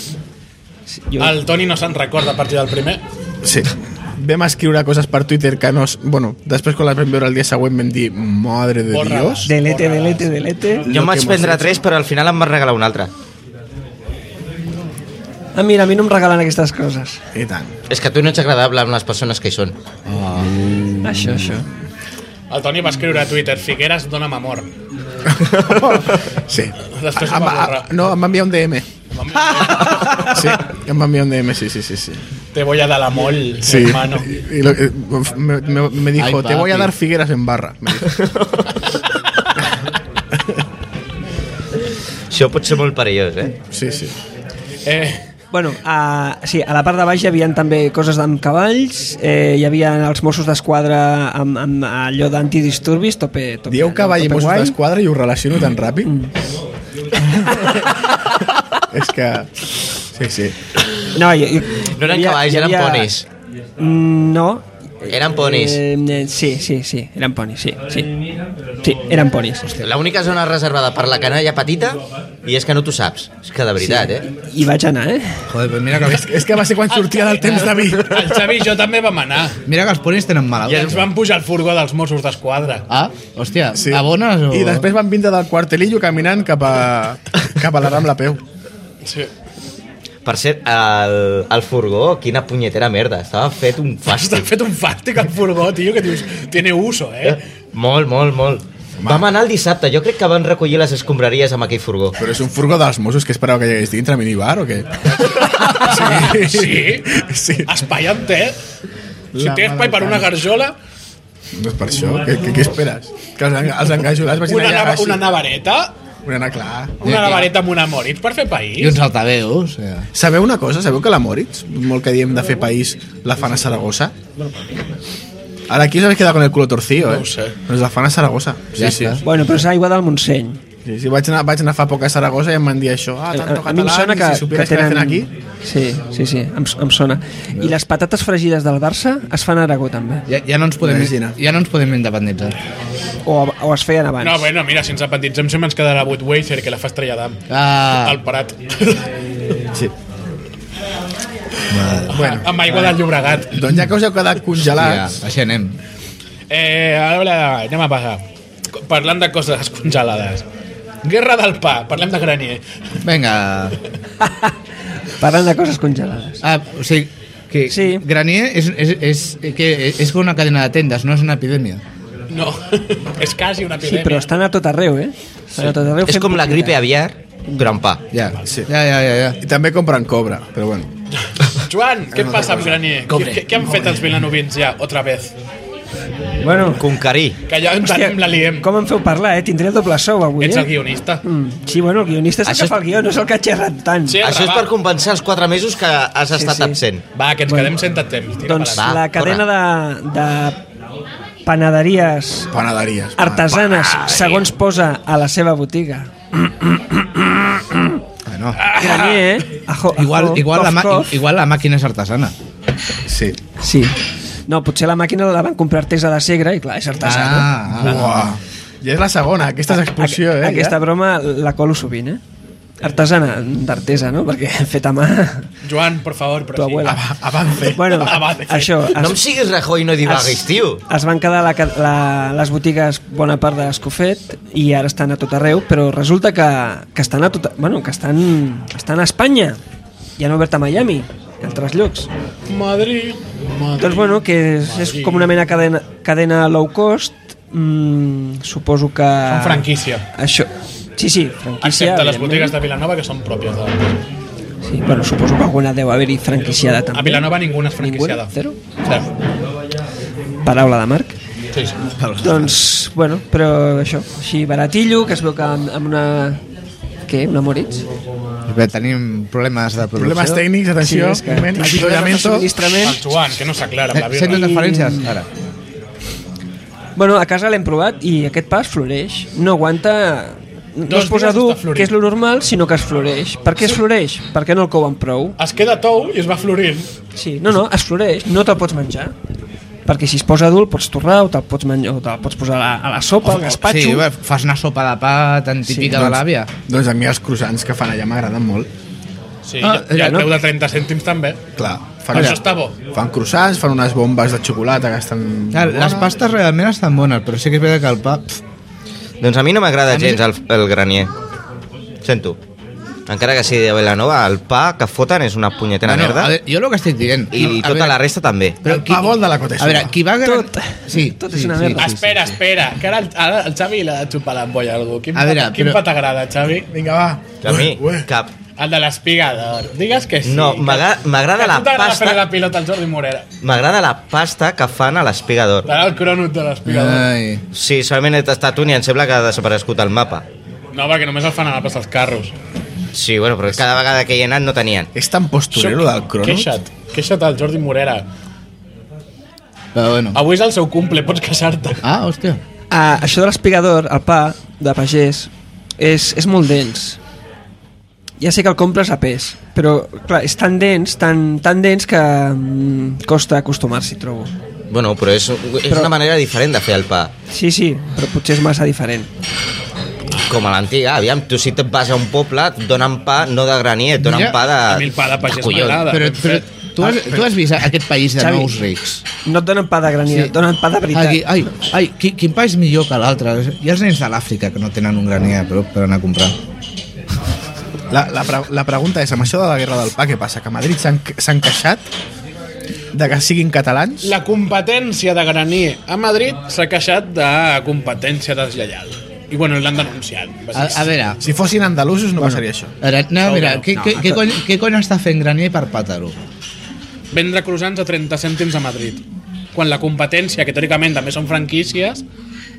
D: Sí, Jo...
A: el Toni no se'n recorda a partir del primer.
C: Sí. Vam escriure coses per Twitter que no... s- Bueno, després quan les vam veure el dia següent vam dir Madre de
A: Borra-les.
C: Dios.
D: Delete, delete, delete.
E: Jo em vaig
C: que mos
E: prendre tres, però al final em vas regalar un altre.
D: Ah, mira, a mi no em regalen aquestes coses.
C: I tant.
E: És que tu no ets agradable amb les persones que hi són.
D: Això, això.
A: El Toni va escriure a Twitter, Figueres, dona'm amor.
C: Sí.
A: Després ho
C: Em
A: va
C: va-
A: borrar.
C: no, em va enviar un DM. *laughs* Sí, em va enviar un DM, sí, sí, sí. sí.
A: Te voy a dar la mol,
C: Sí.
A: hermano.
C: Y lo- eh, me, me- me dijo,
B: Ay,
C: te voy a
B: papi.
C: dar figueras en barra. Me dijo.
E: Això pot ser molt perillós, eh?
C: Sí, sí.
A: Eh,
D: Bueno, a, sí, a la part de baix hi havia també coses amb cavalls, eh, hi havia els Mossos d'Esquadra amb, amb allò d'antidisturbis, tope, tope.
C: Dieu cavall i
D: tope
C: Mossos
D: guai.
C: d'Esquadra i ho relaciono tan ràpid.
A: Mm.
C: *laughs* És que... Sí, sí.
D: No, hi, hi,
E: No eren
D: hi havia-
E: cavalls,
D: hi
E: eren
D: havia-
E: ponis.
D: Mm, No.
E: Eren ponis.
D: Eh, eh, sí, sí, sí, eren ponis, sí, sí. Sí, eren ponis.
E: L'única zona reservada per la canalla petita i és que no t'ho saps. És que de veritat, eh?
D: I vaig anar, eh?
B: Joder, pues
C: *laughs*
B: mira que,
C: És, és que va ser quan sortia del temps de
B: *laughs*
C: vi.
A: el Xavi i jo també vam anar.
B: mira que els ponis tenen mala.
A: I ens van pujar al furgó dels Mossos d'Esquadra.
B: Ah, hòstia,
C: Sí.
B: sí. abones o...
C: I després van vindre del quartelillo caminant cap a, cap a la Rambla a peu.
A: Sí.
E: Per cert, el, el furgó, quina punyetera merda. Estava fet un
A: Està
E: fàstic.
A: fet un fàstic al furgó, tio, que dius, tiene uso, eh?
E: Molt, molt, molt. Vam anar el dissabte. Jo crec que van recollir les escombraries amb aquell furgó.
C: Però és un furgó dels Mossos que esperava que hi hagués dintre, minibar o què?
A: Sí,
C: Sí.
A: espai en té. Si
C: La
A: té espai
C: mare
A: per
C: de
A: una
C: Déu.
A: garjola,
C: Doncs per això, què, què, què esperes? Que els, enga- els engajolats vagin
A: una,
C: allà
A: nava,
C: així.
A: una navareta,
C: Una nava, clar.
A: una navareta amb una moritz per fer
B: I
A: país.
B: uns altaveus. Ja.
C: Sabeu una cosa? Sabeu que la Moritz, molt que diem de fer país, la fan a Saragossa? Ara aquí us habéis quedado con el culo torcido,
A: No
C: eh?
A: ho sé.
C: Doncs la fan a Saragossa. Sí,
B: Ja
C: sí.
B: està.
D: Bueno, però és aigua del Montseny.
C: Sí, sí, vaig, anar, vaig anar fa poc a Saragossa i em van dir això. Ah, tanto
D: a mi em
C: català,
D: sona
C: i
D: que,
C: si
D: que
C: supieras que,
D: tenen...
C: hacen aquí...
D: Sí, sí, sí, em, em sona. I les patates fregides del Barça es fan a Aragó també.
B: Ja, ja, no ens podem,
C: Imagina.
B: ja no ens podem independitzar.
D: O, o es feien abans.
A: No, bueno, mira, si ens apenditzem sempre ens quedarà Budweiser, que la fa estrella d'am.
B: Ah.
A: Al parat.
C: Sí.
A: Bueno, amb aigua del Llobregat.
C: Doncs ja que us heu quedat
B: Ja,
C: congelats...
B: així anem.
A: Eh, a veure, anem a passar. Parlant de coses congelades. Guerra del pa, parlem de granier.
B: Vinga.
D: Parlant de coses congelades.
B: Ah, o sigui, que
D: Sí.
B: Granier és, és, és, que és com una cadena de tendes, no és una epidèmia.
A: No, *laughs* és quasi una
D: Sí,
A: epidèmia.
D: però estan a tot arreu, eh? Estan a tot arreu
E: És
D: fent
E: com la
D: publicitat.
E: gripe aviar, un gran pa.
B: Ja,
C: Sí.
B: ja, ja, ja. ja.
C: I també compren cobra, però bueno.
A: Joan, què passa amb granier?
E: Cobre.
A: Què, què han fet els vilanovins ja, otra vez?
D: Bueno,
E: Concarí.
A: Que ja ens
D: hòstia,
A: anem la liem.
D: com em feu parlar, eh? Tindré el doble sou avui,
A: Ets
D: eh?
A: el guionista.
D: Mm, sí, bueno, el guionista és el
E: Això
D: que
E: és-
D: fa el guió, no és el que ha xerrat tant.
A: Sí,
E: Això és
A: va.
E: per compensar els 4 mesos que has estat
D: sí.
E: absent.
A: Va, que ens
D: Bueno.
A: quedem sense temps. Tira
D: doncs
E: va,
D: la
E: corre.
D: cadena de, de panaderies
C: Panaderies.
D: artesanes, segons posa a la seva botiga.
B: Bueno,
A: Ah.
D: Granier, eh? Ajo, ajo,
B: igual, igual, la,
D: cof,
B: ma-
D: cof.
B: igual la màquina és artesana.
C: Sí.
D: Sí. No, potser la màquina la van comprar artesa de segre i clar, és
C: Ah,
B: Ah,
E: Ah.
D: artesana.
C: Uah. Ja és la segona, aquesta és expulsió, eh?
D: Aquesta
C: ja.
D: broma la colo sovint, eh? Artesana, d'artesa, no? Perquè *laughs* feta a mà
A: Joan, por favor,
D: tu
A: però sí.
D: abuela.
C: Ah, Avance.
D: Bueno, això,
E: No em
D: es,
E: siguis Rajoy, no divaguis, tio.
D: es van quedar la, ca- la, les botigues bona part de l'Escofet i ara estan a tot arreu, però resulta que, que estan a tot... Bueno, que estan, estan a Espanya. Ja han obert a Miami, i a altres llocs.
A: Madrid, Madrid.
D: Doncs bueno, que és, és com una mena cadena, cadena low cost, mm, suposo que...
A: Són franquícia.
D: Això, sí, sí, franquícia.
A: Excepte les
D: evidentment.
A: botigues de Vilanova, que són pròpies de...
D: Sí, bueno, suposo que alguna deu haver-hi franquiciada també.
A: A Vilanova ningú és franquiciada.
D: Ninguna? Zero?
A: Zero.
D: Paraula de Marc.
A: Sí, sí.
D: Doncs, bueno, però això, així baratillo, que es veu que amb, amb una... Què? Una Moritz?
B: Bé, tenim problemes de producció.
C: Problemes tècnics, atenció,
D: és que-
C: moment, avituallamiento.
A: El
D: Subministrament.
A: Joan, que no s'aclara amb la
B: Eh, Sento
A: birra.
B: interferències? Ara.
D: Bueno, a casa l'hem provat i aquest pas floreix. No aguanta... No
A: Dos
D: es posa
A: dies
D: dur,
A: està florint.
D: que és lo normal, sinó que es floreix. Per què es floreix? Perquè no el couen prou.
A: Es queda tou i es va florint.
D: Sí, no, no, es floreix, no te'l pots menjar. Perquè si es posa dur el pots torrar o te'l pots, menjar, o te'l pots posar a la, a la sopa, al gaspatxo...
B: Sí, bé, fas una sopa de pa tan típica de l'àvia.
C: Doncs a mi els croissants que fan allà m'agraden molt.
A: Sí,
B: Ah,
A: i
B: ja
A: el
B: no.
A: preu de 30 cèntims també.
C: Clar, fan,
A: Això està bo.
C: fan croissants, fan unes bombes de xocolata que estan...
B: Ah, Les pastes realment estan bones, però sí que és veritat que el pa... Pff,
E: Doncs a mi no m'agrada gens el, el granier. Sento. Encara que sigui de Vilanova, el pa que foten és una punyetera
B: bueno,
E: merda.
B: a veure, jo el que estic dient...
E: I
B: a
E: tota
B: veure,
E: la resta també.
C: El pa vol de la Cote
B: A veure, qui va... gran-
D: Tot.
B: Sí,
D: Tot
B: sí,
D: és una
B: sí,
D: merda.
B: sí, sí.
A: espera, espera, que ara el, ara el Xavi l'ha de xupar l'ampolla a algú. Quin,
B: A veure,
A: pat, quin
B: però-
A: pa t'agrada, Xavi?
C: Vinga, va.
E: Que a mi,
C: Ué, ué.
E: cap.
A: El de l'espiga d'or. Digues que sí.
E: No,
A: que-
E: m'agra- m'agrada
A: que
E: la
A: tu t'agrada
E: pasta.
A: fer la pilota al Jordi Morera.
E: M'agrada la pasta que fan a l'espiga d'or.
A: T'agrada el cronut de l'espiga
C: Eh.
A: d'or.
B: Ai.
E: Sí, solament he tastat un i em sembla que ha desaparegut el mapa.
A: No, perquè només el fan anar a passar els carros.
E: Sí, bueno, però cada vegada que hi he anat no tenien.
C: És tan posturero del Cronos.
A: Queixa't, queixa't al Jordi Morera.
B: Però bueno.
A: Avui és el seu cumple, pots queixar-te.
B: Ah, hòstia.
D: Ah, això de l'espigador, el pa de pagès, és, és molt dens. Ja sé que el compres a pes, però clar, és tan dens, tan, tan dens que mm, costa acostumar-s'hi, trobo.
E: Bueno, però és, és
D: Però-
E: una manera diferent de fer el pa.
D: Sí, sí, però potser és massa diferent.
E: Com a l'antiga, aviam, tu si te'n vas a un poble et donen pa no de granier, et donen
B: Ja,
E: pa de...
A: a mi el pa de pagès
E: collons.
A: m'agrada.
B: Però,
A: ben
B: però
A: fet.
B: tu, has, tu has vist aquest país de
D: Xavi.
B: nous rics?
D: No et donen pa de granier, sí. et donen pa de veritat.
B: Aquí, ai, ai, quin, quin país millor que l'altre? Hi ha els nens de l'Àfrica que no tenen un graner però per anar a comprar.
C: La, la, pre la pregunta és, amb això de la guerra del pa, què passa? Que a Madrid s'han s'han queixat de que siguin catalans?
A: La competència de Granier a Madrid s'ha queixat de competència deslleial. I bueno, l'han denunciat.
B: A, a veure,
C: Si fossin andalusos no passaria això.
B: a veure, no, a veure què, què, què, cony, què cony està fent graner per pàtaro?
A: Vendre croissants a 30 cèntims a Madrid. Quan la competència, que teòricament també són franquícies,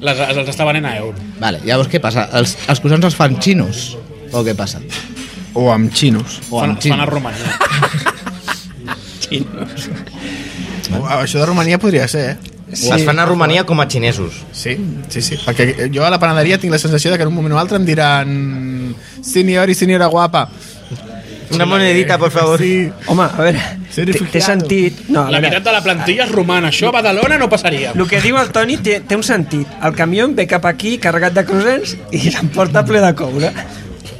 A: les, els està venent a euro.
B: Vale, llavors què passa? Els, els croissants els fan xinos? O què passa?
C: O amb xinos.
B: O
A: Fan,
B: amb
A: fan a
B: xinos?
A: *laughs* Romania.
C: O, això de Romania podria ser, eh?
E: Sí. Es fan a Romania com a xinesos.
C: Sí, sí, sí. Perquè jo a la panaderia tinc la sensació de que en un moment o altre em diran senyor i senyora guapa.
E: Una monedita, por favor.
C: Sí.
D: Home, a veure,
C: Ser
D: té té
C: refugiado.
D: sentit... No, a
A: La
D: veure,
A: meitat de la plantilla és romana. Això a Badalona no passaria.
D: el que diu el Toni té, té un sentit. El camió ve cap aquí carregat de croissants i l'emporta ple de coure.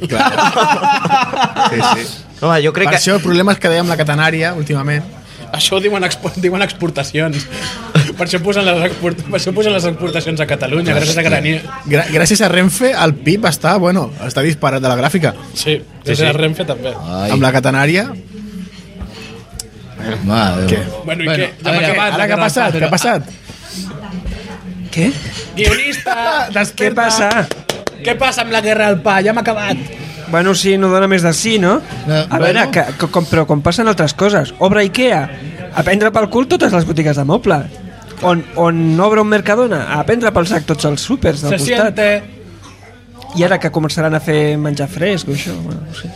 C: sí, sí.
E: Home, jo
C: Per
E: crec que...
C: això el problema és que dèiem la catenària últimament.
A: Això ho diuen, expo diuen *laughs* exportacions. per, això posen les export per això posen les exportacions a Catalunya, gràcies a Catalunya.
C: Gra gràcies a Renfe el PIB està, bueno, està disparat de la gràfica.
A: Sí, sí, sí. Renfe també.
B: Ai,
C: Amb la catenària...
B: mare de
C: Què?
B: Déu.
A: Bueno, i què? Ja
B: a
A: m'ha
B: veure,
A: acabat.
C: Ara què ha passat? Què ha passat?
D: Què?
C: Ah,
A: Guionista!
D: Què passa?
A: Què passa amb la guerra al pa? Ja m'ha acabat.
D: Bueno, sí, no dona més de sí, no?
B: No,
D: a veure,
B: bueno.
D: que, que, com, però com passen altres coses. Obre Ikea, a prendre pel cul totes les botigues de moble. On, on obre un Mercadona, a prendre pel sac tots els súpers del
A: Se
D: costat.
A: siente...
D: I ara que començaran a fer menjar fresc o això, bueno, no sé.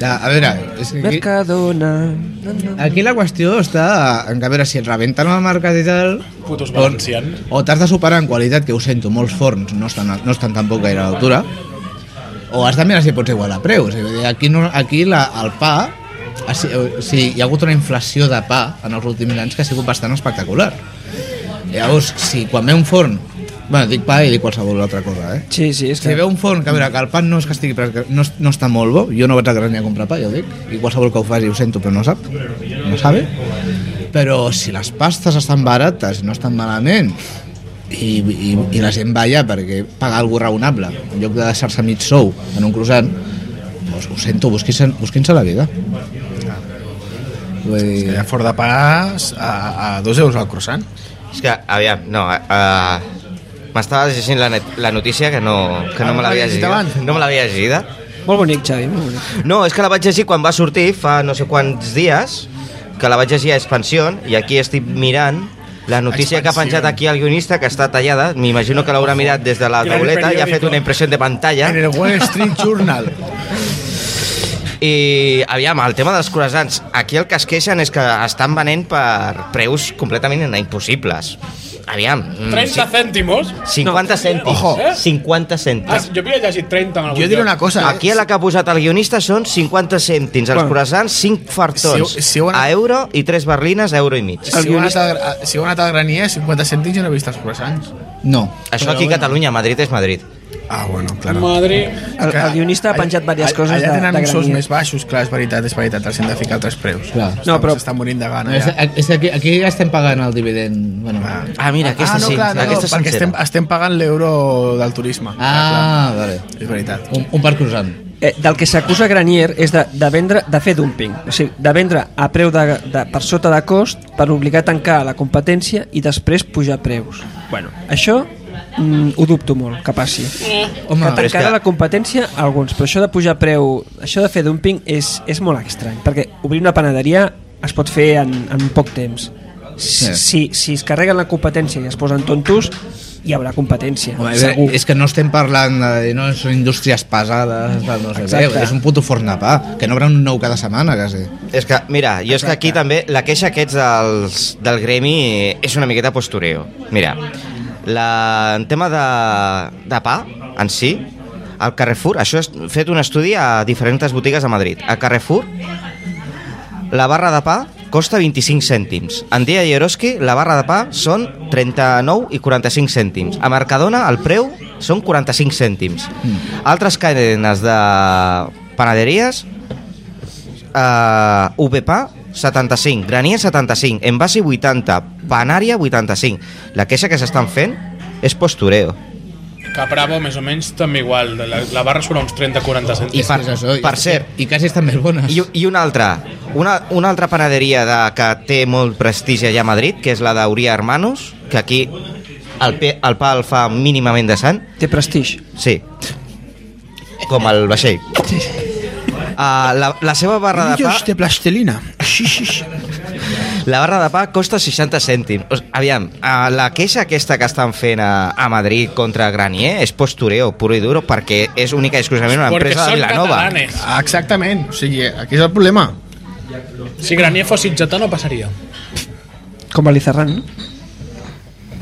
B: Ja, a veure, és que aquí,
D: Mercadona... No, no.
B: aquí la qüestió està en que a veure si et rebenten la marca i tal
A: Putos
B: o,
A: valencians.
B: o t'has de superar en qualitat, que ho sento, molts forns no estan, no estan tampoc gaire a l'altura o has de mirar si pots igualar preus És a dir, aquí, no, aquí la, el pa ha, si, o sigui, hi ha hagut una inflació de pa en els últims anys que ha sigut bastant espectacular llavors, si quan ve un forn bueno, dic pa i dic qualsevol altra cosa eh?
D: Sí, sí, és que...
B: Si veu un forn, que a veure, que el pa no és que estigui pres- no, es- no està molt bo, jo no vaig a Gràcia a comprar pa, ja ho dic, i qualsevol que ho faci ho sento, però no sap, no sabe, però si les pastes estan barates, no estan malament, i, i, i la gent va allà perquè paga algo raonable, en lloc de deixar-se mig sou en un croissant, doncs ho sento, busquin-se busquin la vida. Vull dir,
C: Allà fora Eh, de pas a, a dos euros al croissant.
E: És que, aviam, no... Uh, M'estaves llegint la, net- la notícia que no, que no me l'havia
C: Ah, llegit
E: llegida.
C: abans.
E: No me l'havia llegida.
D: Molt bonic, Xavi, molt bonic.
E: No, és que la vaig llegir quan va sortir fa no sé quants dies, que la vaig llegir a Expansió, i aquí estic mirant la notícia que ha
C: Expansión.
E: penjat aquí el guionista, que està tallada, m'imagino que l'haurà mirat des de la
A: Gran
E: tauleta i ha fet
A: periódico.
E: una impressió de pantalla.
C: En el Wall Street Journal.
E: I, aviam, el tema dels croissants. Aquí el que es queixen és que estan venent per preus completament impossibles. Aviam, mm,
A: 30 cèntimos?
E: 50 cèntims.
C: Ojo.
E: Eh? 50
A: Ah,
E: cèntims.
A: jo havia llegit 30 en algun
C: Jo diré
A: lloc.
C: una cosa. eh,
E: Aquí a la que ha posat el guionista són 50 cèntims, els
D: Bueno.
E: croissants 5 fartons,
C: Si- si ho han-
E: a euro i 3 berlines a euro i mig.
C: Si heu anat, a, a- si heu anat al Granier, 50 cèntims jo no he vist els croissants.
B: no.
E: Això aquí a Catalunya, Madrid és Madrid.
C: Ah, bueno, clar.
A: Madrid...
D: El, el guionista ha penjat diverses coses
C: allà
D: de,
C: tenen
D: de
C: uns sous
D: Granier.
C: més baixos, clar, és veritat, és veritat, els hem de ficar altres preus.
B: Clar.
D: No,
C: No,
D: però-
C: però... S'estan morint de
B: No,
C: gana,
B: és,
C: ja.
B: és que aquí, aquí ja estem pagant el dividend. Bueno, ah,
E: Ah, mira, aquesta
C: ah, no,
E: sí,
C: clar, no,
E: aquesta
C: no, perquè
E: sencera.
C: estem, estem pagant l'euro del turisme.
B: ah vale.
C: clar, és veritat.
B: Un, un per croissant.
D: Eh, del que s'acusa Granier és de, de vendre de fer dumping, o sigui, de vendre a preu de, de, per sota de cost per obligar a tancar la competència i després pujar preus. Bueno, això mm, ho dubto molt que passi.
B: Home,
D: que
E: però és
D: tancarà
E: que-
D: la competència alguns, però això de pujar preu, això de fer dumping és, és molt estrany, perquè obrir una panaderia es pot fer en, en poc temps. Si,
B: Sí.
D: si, si es carreguen la competència i es posen tontos, hi haurà competència,
B: Home,
D: segur.
B: és que no estem parlant de dir, no, són indústries pesades, tal, no sé què,
D: Exacte.
B: és un puto forn de pa, que n'obre un nou cada setmana, quasi.
E: És que, mira, jo és que aquí també la queixa aquests dels, del gremi eh, és una miqueta postureo. Mira, la, en tema de, de pa en si, al Carrefour, això és fet un estudi a diferents botigues a Madrid. Al Carrefour, la barra de pa costa 25 cèntims. En Dia i Eroski, la barra de pa són 39 i 45 cèntims. A Mercadona, el preu són 45 cèntims. Altres cadenes de panaderies eh, VPA 75, Granier 75, Envasi 80, Panària 85. La queixa que s'estan fent és postureo.
A: Que Bravo, més o menys, també igual. La, la barra surt a uns 30-40
E: I
A: cèntims.
E: per,
B: És això, i-
E: per cert,
B: I quasi estan més bones.
E: i, i una altra, una, una altra panaderia de, que té molt prestigi allà a Madrid, que és la d'Auria Hermanos, que aquí el, pe, el pa el fa mínimament de sant,
D: Té prestigi.
E: sí, com el vaixell. Uh, la, la seva barra de pa...
C: de plastelina.
E: La barra de pa costa 60 cèntims. O sigui, aviam, eh, la queixa aquesta que estan fent a, a Madrid contra Granier és postureo, puro i duro, perquè és única i exclusivament una
A: Porque
E: empresa de
A: son
E: Vilanova.
A: catalanes.
C: Ah, exactament, o sigui, aquí és el problema.
A: Si Granier fos sitjatà no passaria.
D: Com a l'Izarran, no?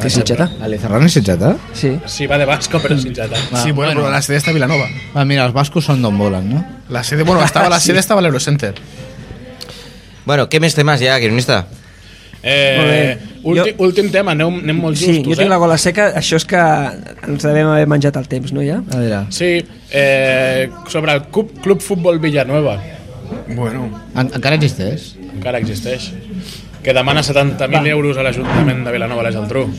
D: Sí, Sitxeta.
B: Ale Serrano és Sitxeta?
D: Sí.
A: Sí, va de Vasco, pero sin chata.
E: Ah,
C: Sí, bueno, però la sede està a Vilanova.
B: Ah, mira, els bascos són d'on volen, no?
C: La sede, bueno, estava, la sede estava a l'Eurocenter.
E: Bueno, què més temes ja, guionista?
A: Eh,
D: Molt bé.
A: ulti- últim tema, anem, anem molt
D: Sí,
A: justos,
D: jo tinc
A: eh?
D: la gola seca, això és que ens devem haver menjat el temps, no, ja?
B: A veure,
A: Sí, eh, sobre el Club, Club Futbol Villanueva,
C: Bueno,
B: en, encara existeix?
A: encara existeix, que demana 70.000 euros a l'Ajuntament de Vilanova i la Geltrú.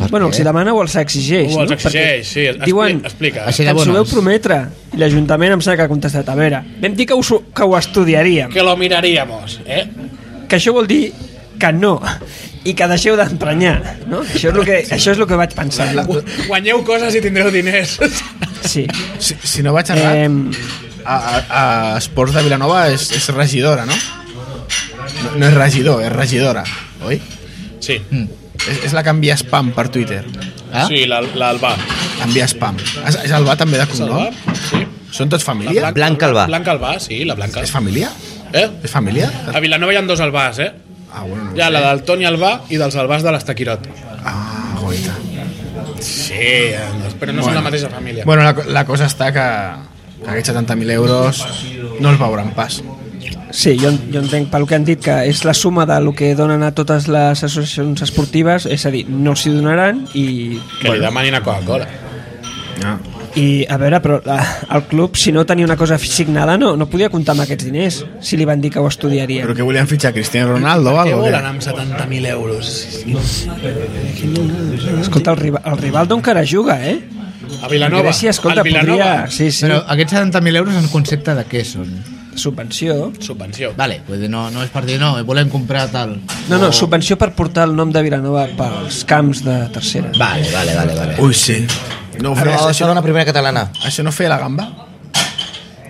B: Per
D: Bueno,
B: què?
D: els hi demana o els exigeix,
A: Ho els
D: no?
A: exigeix, sí,
D: Perquè diuen,
A: expli- explica.
B: Així-
D: ens
B: de
D: ho veu
B: bones.
D: prometre, i l'Ajuntament em sembla que ha contestat, a veure, vam dir que ho, su- que ho estudiaríem,
A: Que lo miraríamos, eh?
D: que això vol dir que no, i que deixeu d'emprenyar, no? Això és el que, això és el que vaig pensar.
A: Gu- Guanyeu coses i tindreu diners.
D: Sí.
C: si, si no vaig errat,
D: Eh,
C: a, a, a Esports de Vilanova és, és regidora, no? no? No és regidor, és regidora, oi?
A: Sí,
E: Mm.
C: És, és la que envia spam per Twitter.
B: Ah?
A: sí, l'Al- l'Albà.
C: Envia spam. És, és el va també de
A: L'Albà,
C: cognom?
A: sí.
C: Són tots
A: La
C: família?
E: Blanca Albà.
A: Blanca Albà, sí, la Blanca.
C: És família?
A: Eh?
C: És família?
A: A Vilanova hi ha dos Albàs, eh?
C: Ah, bueno, no ho
A: Hi ha
C: sé.
A: la del Toni Albà i dels Albàs de l'Estaquirot.
C: Ah, goita.
A: Sí, eh, doncs, però no bueno. són la mateixa família.
C: Bueno, la, co- la cosa està que, que aquests 70.000 euros no els veuran pas.
D: sí, jo, jo entenc pel que han dit que és la suma del que donen a totes les associacions esportives, és a dir, no s'hi donaran i
A: que li demanin a Coca-Cola.
C: Ah.
D: I, a veure, però la, el club, si no tenia una cosa signada, no, no podia comptar amb aquests diners, si li van dir que ho estudiaria.
C: Però què volien fitxar, Cristiano Ronaldo o
A: Què
C: algo?
A: volen
C: què?
A: amb 70.000 euros?
D: Escolta, el, Riva- el Rivaldo encara juga, eh?
A: A Vilanova.
D: Grècia, escolta,
A: Ah, Al Vilanova.
D: podria... Sí, sí,
B: Però
D: però...
B: aquests 70.000 euros en concepte de què són?
D: subvenció.
A: Subvenció.
B: Vale, vull dir, no, no és per dir, no, eh, volem comprar tal...
D: No, no, subvenció per portar el nom de Vilanova pels camps de tercera.
E: Vale, vale, vale. vale.
C: Ui, sí. No, ho
E: Però
C: feia, això,
E: això era una primera catalana.
C: això no feia la gamba?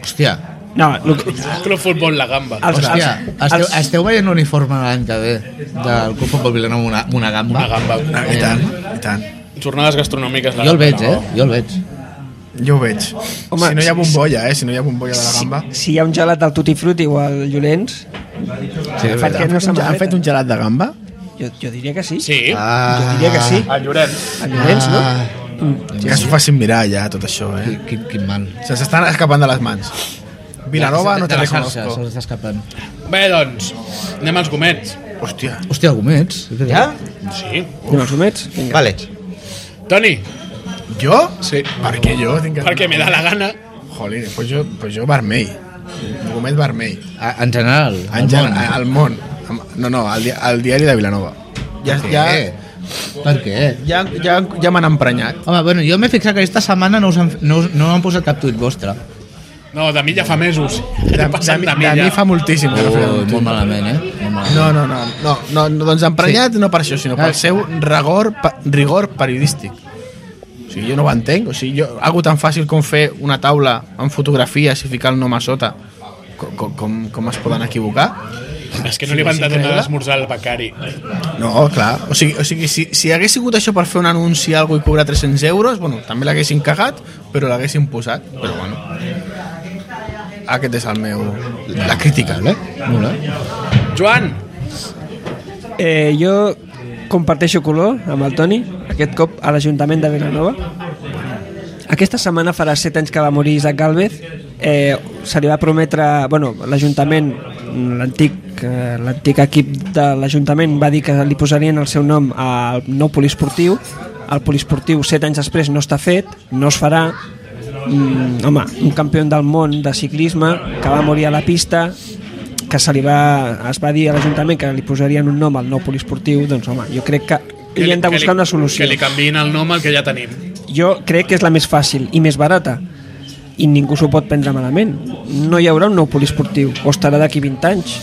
B: Hòstia,
D: No, el que...
A: Club Futbol La Gamba.
D: Els, els,
B: hòstia, esteu,
D: els,
B: esteu veient l'uniforme l'any que ve del Club Futbol Vilanova una, una gamba?
A: Una gamba.
C: Ah, I tant, i tant.
A: Jornades gastronòmiques. la
B: Jo el veig,
A: Gamba,
B: eh?
A: no?
B: Jo el veig.
C: Jo ho veig.
D: Home,
C: si no hi ha
D: sí,
C: bombolla, eh? Si no hi ha bombolla de la gamba...
D: si, si hi ha un gelat al Tutti Frutti o al Llorenç,
B: Sí,
C: Han
D: Per què no
C: fet, un, ge- han
D: samarreta?
C: fet un gelat de gamba?
D: jo, jo diria que sí.
A: Sí.
C: Ah.
D: Jo diria que sí.
A: A Llorenç.
D: Al Llorenç, no?
B: Ah.
C: Ah, Que s'ho facin mirar ja, tot això, eh?
B: Quin, quin, quin mal.
C: Se'ns estan escapant de les mans. Vilanova no
B: de
C: te
B: la xarxa,
C: reconozco.
B: se'ls està escapant.
A: Bé, doncs, anem als gomets.
C: Hòstia.
B: Hòstia, gomets.
E: Ja?
A: Sí.
D: Anem als humets? Vinga.
E: Vale.
A: Toni,
C: Jo?
A: Sí.
C: Per què jo? Tinc que-
A: perquè me da la gana.
C: Jolín, pues jo, pues jo vermell. Un gomet vermell.
B: A, en general.
C: En general, al món. No, no, al, di al diari de Vilanova. Ja,
B: Per
C: ja,
B: què? Ah, Per què?
C: ja, ja, ja m'han emprenyat.
B: Home, bueno, jo m'he fixat que aquesta setmana no, us han, no, us, no han posat cap tuit vostre.
C: Oh,
A: No, de mi ja fa mesos.
C: De,
A: Ja
C: de,
A: passen
C: mi-
A: de, mi
C: de mi
A: ja.
C: fa moltíssim. que no feia un
B: Ui,
C: tuit.
B: molt malament, eh? Molt malament.
C: No, no, no, no, no, no doncs emprenyat sí. no per això, sinó pel
B: Ah.
C: seu rigor, pa, rigor periodístic. O sigui, jo no ho entenc. O sigui, jo, algo tan fàcil com fer una taula amb fotografies i ficar el nom a sota, com, com, com, com es poden equivocar?
A: És que no li van de donar l'esmorzar al becari.
C: No, clar. O sigui, o sigui si, si hagués sigut això per fer un anunci o alguna i cobrar 300 euros, bueno, també l'haguessin cagat, però l'haguessin posat. Però bueno. Aquest és el meu... La crítica, eh?
B: Molt bé.
A: Joan,
D: Eh, jo comparteixo color amb el Toni, aquest cop a l'Ajuntament de Vilanova. Aquesta setmana farà 7 anys que va morir Isaac Galvez. Eh, se li va prometre... Bueno, l'Ajuntament, l'antic eh, l'antic equip de l'Ajuntament va dir que li posarien el seu nom al nou poliesportiu. El poliesportiu 7 anys després no està fet, no es farà. Mm, home, un campió del món de ciclisme que va morir a la pista que se li va, es va dir a l'Ajuntament que li posarien un nom al nou poliesportiu doncs home, jo crec que hi hem de buscar una solució
A: Que li canviïn el nom al que ja tenim.
D: jo crec que és la més fàcil i més barata i ningú s'ho pot prendre malament no hi haurà un nou poliesportiu o estarà d'aquí 20 anys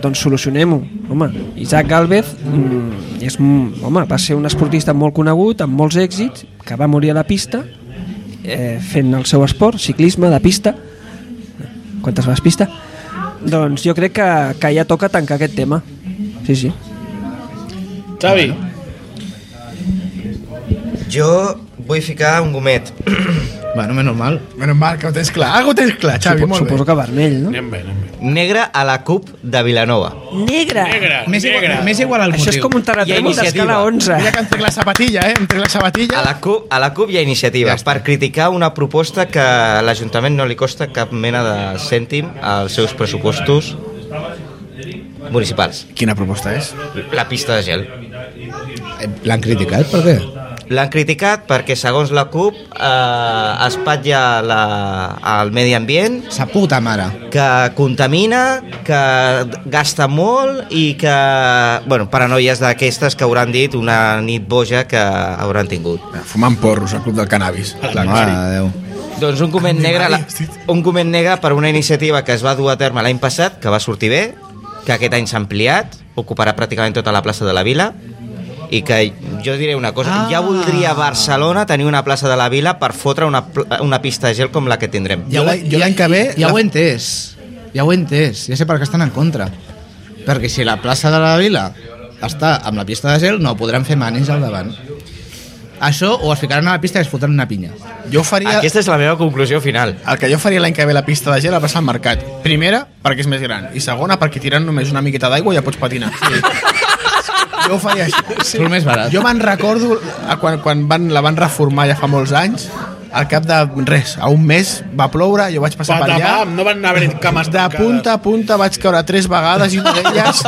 D: doncs solucionem-ho, home Isaac Galvez mm, és, un- home, va ser un esportista molt conegut amb molts èxits, que va morir a la pista eh, fent el seu esport ciclisme de pista quantes vegades pista doncs jo crec que, que ja toca tancar aquest tema sí, sí
A: Xavi,
E: Jo vull ficar un gomet.
B: Bueno, menys mal.
C: Menos mal que ho tens clar. Algo ho tens clar, Xavi,
D: Supo,
C: molt
D: suposo
C: bé.
D: que vermell, no?
A: anem bé, anem bé.
E: negra a la CUP de Vilanova.
D: Negra.
A: Negre,
B: M'és igual,
A: negre.
B: m'és igual el motiu.
D: Això és com un terratrèmol
E: iniciativa.
D: d'escala 11.
C: Mira que em trec la sapatilla, eh? Em trec la sapatilla.
E: A la CUP, a la CUP hi ha iniciativa
B: Ja
E: ja
B: està.
E: per criticar una proposta que a l'Ajuntament no li costa cap mena de cèntim als seus pressupostos municipals.
C: Quina proposta és?
E: La pista de gel.
B: Eh, L'han criticat, per què?
E: L'han criticat perquè, segons la CUP, eh, espatlla la, el medi ambient,
B: Sa puta mare.
E: que contamina, que gasta molt i que... Bueno, paranoies d'aquestes que hauran dit una nit boja que hauran tingut.
C: Fumant porros al Club del Cannabis.
B: La mare de Déu.
E: Doncs un coment negre, la, un coment negre per una iniciativa que es va dur a terme l'any passat, que va sortir bé, que aquest any s'ha ampliat, ocuparà pràcticament tota la plaça de la Vila, i que jo diré una cosa, ah. ja voldria Barcelona tenir una plaça de la Vila per fotre una, pl- una pista de gel com la que tindrem.
C: Jo l'any- jo l'any que ve-
B: Ja
C: la-
B: ho he entès. Ja ho he entès. Ja sé per què estan en contra. Perquè si la plaça de la Vila està amb la pista de gel, no podran fer manis al davant. Això o es ficaran a la pista i es fotran una pinya.
C: Jo faria...
E: Aquesta és la meva conclusió final.
C: El que jo faria l'any que ve la pista de gel la passa al mercat. Primera, perquè és més gran. I segona, perquè tirant només una miqueta d'aigua ja pots patinar. Sí. jo ho faria així.
B: Sí. Surt més barat.
C: Jo me'n recordo a quan, quan van, la van reformar ja fa molts anys, al cap de res, a un mes va ploure, jo vaig passar per allà,
A: Patapam, no van haver cames
C: de
A: tancades.
C: punta a punta vaig caure tres vegades i una d'elles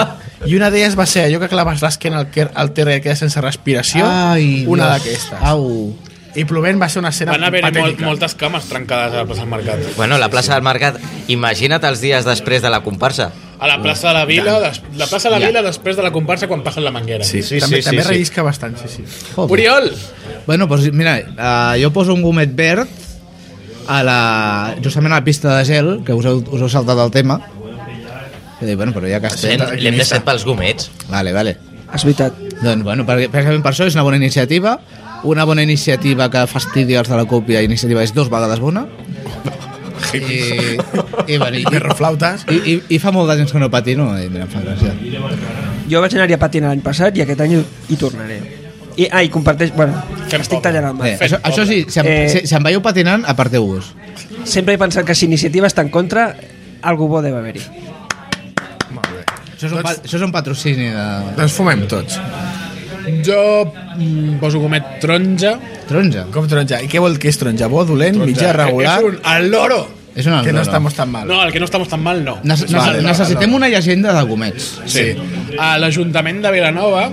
C: i una d'elles va ser allò que claves l'esquena al, quer- al terra i quedes sense respiració una
B: Dios.
C: d'aquestes
B: Au.
C: i plovent va ser una escena
A: Van haver molt,
C: patètica
A: moltes cames trencades a la plaça del mercat.
E: Bueno, la plaça del Mercat, imagina't els dies després de la comparsa.
A: A la plaça de la Vila, des, la plaça de la Vila després de la comparsa quan passen la manguera.
C: sí, sí, també, sí, també sí, rellisca bastant sí, sí.
B: Joder.
A: Oriol!
B: Bueno, doncs mira, eh, jo poso un gomet verd a la, justament a la pista de gel, que us heu, us heu saltat el tema. I dic, bueno, però ja que estem...
E: L'hem deixat pels gomets.
B: Vale, vale.
D: És veritat.
B: Doncs, bueno, per- precisament per això és una bona iniciativa, una bona iniciativa que fastidia els de la CUP i la iniciativa és dos vegades bona. I, i, bueno, i,
C: perroflautes
B: i, i, i fa molt de temps que no patino i mira, em fa gràcia.
D: Jo vaig anar-hi a patinar l'any passat i aquest any hi tornaré. I, ah, i comparteix... Bueno,
A: Fem
D: estic
A: poble.
D: tallant el
B: Bé,
D: mar.
B: això, això sí, si em,
D: Eh.
B: si, si em veieu patinant, aparteu-vos.
D: Sempre he pensat que si iniciativa està en contra, algú bo deu haver-hi.
B: Això és un, pa, això és un patrocini de
C: doncs fumem tots
A: Jo mm, poso gomet taronja.
B: taronja.
C: com taronja i què vol que és taronja? bo, dolent, mitjà, regular
A: És un al loro!
B: És una
C: que no
B: alzora.
C: estamos tan mal
A: No, el que no estamos tan mal, no. Ah,
B: Nes, nes,
C: Vale,
B: necessitem una llegenda de gomets.
A: Sí. A l'Ajuntament de Vilanova...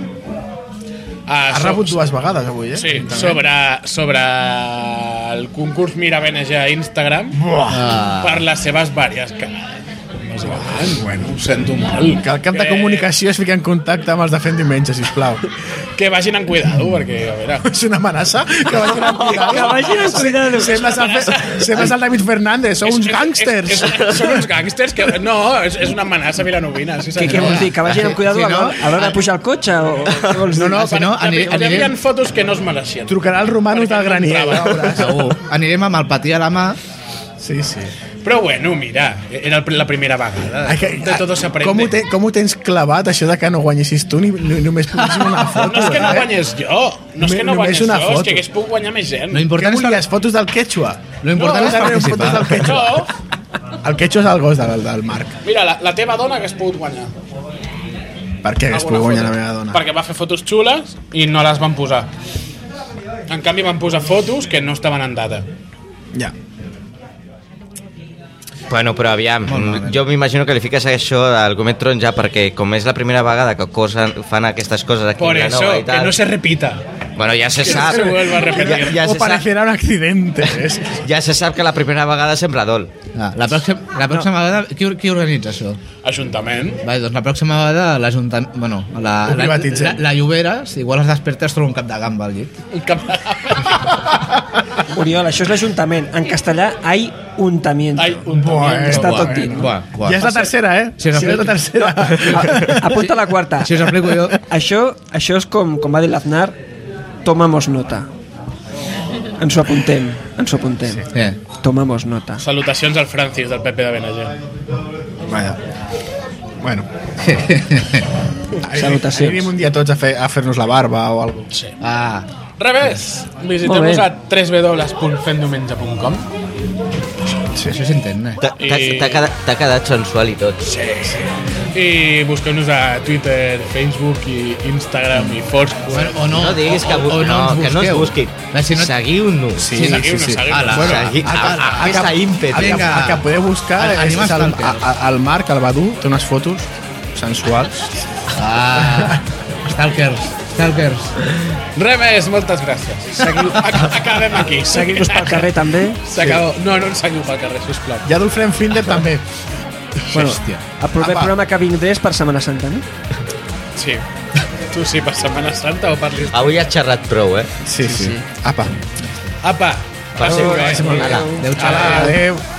A: A,
C: ha rebut dues vegades avui eh?
A: Sí, sobre, sobre el concurs Mirabenes a Instagram
B: Ah.
A: per les seves vàries canades.
C: eh?
A: Bueno, ho sento molt.
C: que el cap de
A: Eh,
C: comunicació es fiqui en contacte amb els de fent diumenge,
A: *laughs*
C: sisplau.
A: Que vagin amb cuidado, perquè, a veure...
C: és una amenaça que vagin a cuidar.
D: Que vagin a cuidar.
C: Sembles el, Fe- sembles el David Fernández, sou
A: És-
C: uns
A: és-
C: gàngsters.
A: és- és- Són uns gàngsters que... No, és, és una amenaça vilanovina. Sí,
D: Què, què
A: senyor.
D: vols dir? Que vagin amb cuidado
B: Si
D: a
B: no-
D: l'hora- a l'hora de pujar al cotxe? O, què vols
B: No,
D: dir?
B: no, si no,
A: Hi havia-
B: aniré,
A: Hi havia
B: anirem,
A: fotos que no es mereixien.
C: Trucarà el Romanos del Granier.
A: Perquè no entrava.
B: segur, anirem amb el patí a la mà.
C: Sí, sí.
A: Però bueno, mira, era el- la primera vegada.
C: Ai, que-
A: De todo se aprende.
C: Com ho, te, com ho tens clavat, això de que no guanyessis tu ni, ni
A: *laughs*
C: només puguis una foto?
A: No és que no
C: eh?
A: guanyés jo, no és que no
C: Només
A: guanyés
C: una
A: jo, és
C: foto.
A: que hagués pogut guanyar més gent.
B: No
C: Què
B: important és
C: volies, fotos del quechua?
B: Lo important
A: No,
B: és
A: ara
C: Darrere,
B: participar.
C: fotos del quechua.
A: Jo,
C: El quechua és el gos del, del Marc.
A: mira, la, la teva dona hagués pogut guanyar.
C: Per què hagués
A: Alguna
C: pogut guanyar la
A: foto.
C: meva dona?
A: Perquè va fer fotos xules i no les van posar. En canvi van posar fotos que no estaven en data.
C: Ja.
E: Bueno, però aviam, mm, jo m'imagino que li fiques això al gomet taronja perquè com és la primera vegada que cosen, fan aquestes coses aquí
A: Por
E: a
A: eso,
E: Vilanova i
A: que
E: tal...
A: no se repita.
E: Bueno, ja se
A: Que no
E: sap.
A: se vuelva a repetir.
E: Ja, ja,
C: o
E: se sap
C: parecerà un accidente. eh? És que-
E: ja se sap que la primera vegada sembla dol.
B: Ah, la pròxima, la pròxima vegada, qui, qui organitza això?
A: Ajuntament.
B: Vale, doncs la pròxima vegada l'Ajuntament... Bueno, la,
C: Ho
B: la,
C: privatitzem.
B: la, la Lloberes, igual es desperta i es troba un cap de gamba al llit.
A: Un cap...
D: Oriol, això és l'Ajuntament. En castellà, hay
A: *laughs*
D: untamiento.
A: Ai, un
C: Buah,
D: Està
B: Buah,
D: tot dit.
B: Buah, buah.
C: Ja és la tercera, eh?
B: Si us
C: Si no és la tercera.
D: A- Apunta la quarta.
B: Si us explico jo...
D: Això, això és com, com va dir l'Aznar, tomamos nota. Ens ho apuntem, ens ho apuntem. Sí.
B: Eh, *laughs*
D: Tomamos nota.
A: Salutacions al Francis del PP de Benagent.
C: Vaja. Bueno.
D: Salutacions.
C: Anirem un dia tots a fer- a fer-nos la barba o alguna cosa.
B: ah,
A: Revés!
D: Molt
A: Visiteu-nos
D: bé.
A: a www.fendiumenge.com
C: Sí.
B: Això s'entén, eh?
E: T'ha t'ha- t'ha quedat, t'ha quedat sensual i tot. Sí.
A: I busqueu-nos a Twitter, Facebook i Instagram i Foursquare.
B: o no,
E: No diguis que,
B: o,
E: bu-
B: o no, ens
E: que no ens busquin.
B: Va, si no-
E: Seguiu-nos.
A: Sí, seguiu-nos, seguiu-nos.
B: Ala.
C: Bueno,
E: Segui-
C: a- a-
E: a-
C: a-
E: aquesta ímpetu.
C: ah, El que,
B: Vinga.
C: el que podeu buscar
B: Al-
C: és,
B: Animals
C: és el,
B: Tantes.
C: a- a- el Marc, el Badu, té unes fotos sensuals.
B: Ah, stalkers, stalkers.
A: Res més, moltes gràcies. Seguiu, ac- acabem aquí.
D: Seguim-nos pel carrer també.
A: S'acabó. No, no ens seguiu pel carrer, sisplau.
C: Ja Adolfem Finder també.
D: Bueno,
C: Hòstia. Ah,
D: el proper
C: Apa.
D: programa que vindré és per Setmana Santa, no?
A: Sí. Tu sí, per Setmana Santa o per l'Isla.
E: Avui has xerrat prou, eh?
C: Sí, sí. Apa.
A: Apa, passeu bé.
E: Ala.
B: Adéu, xaval.
C: Adéu.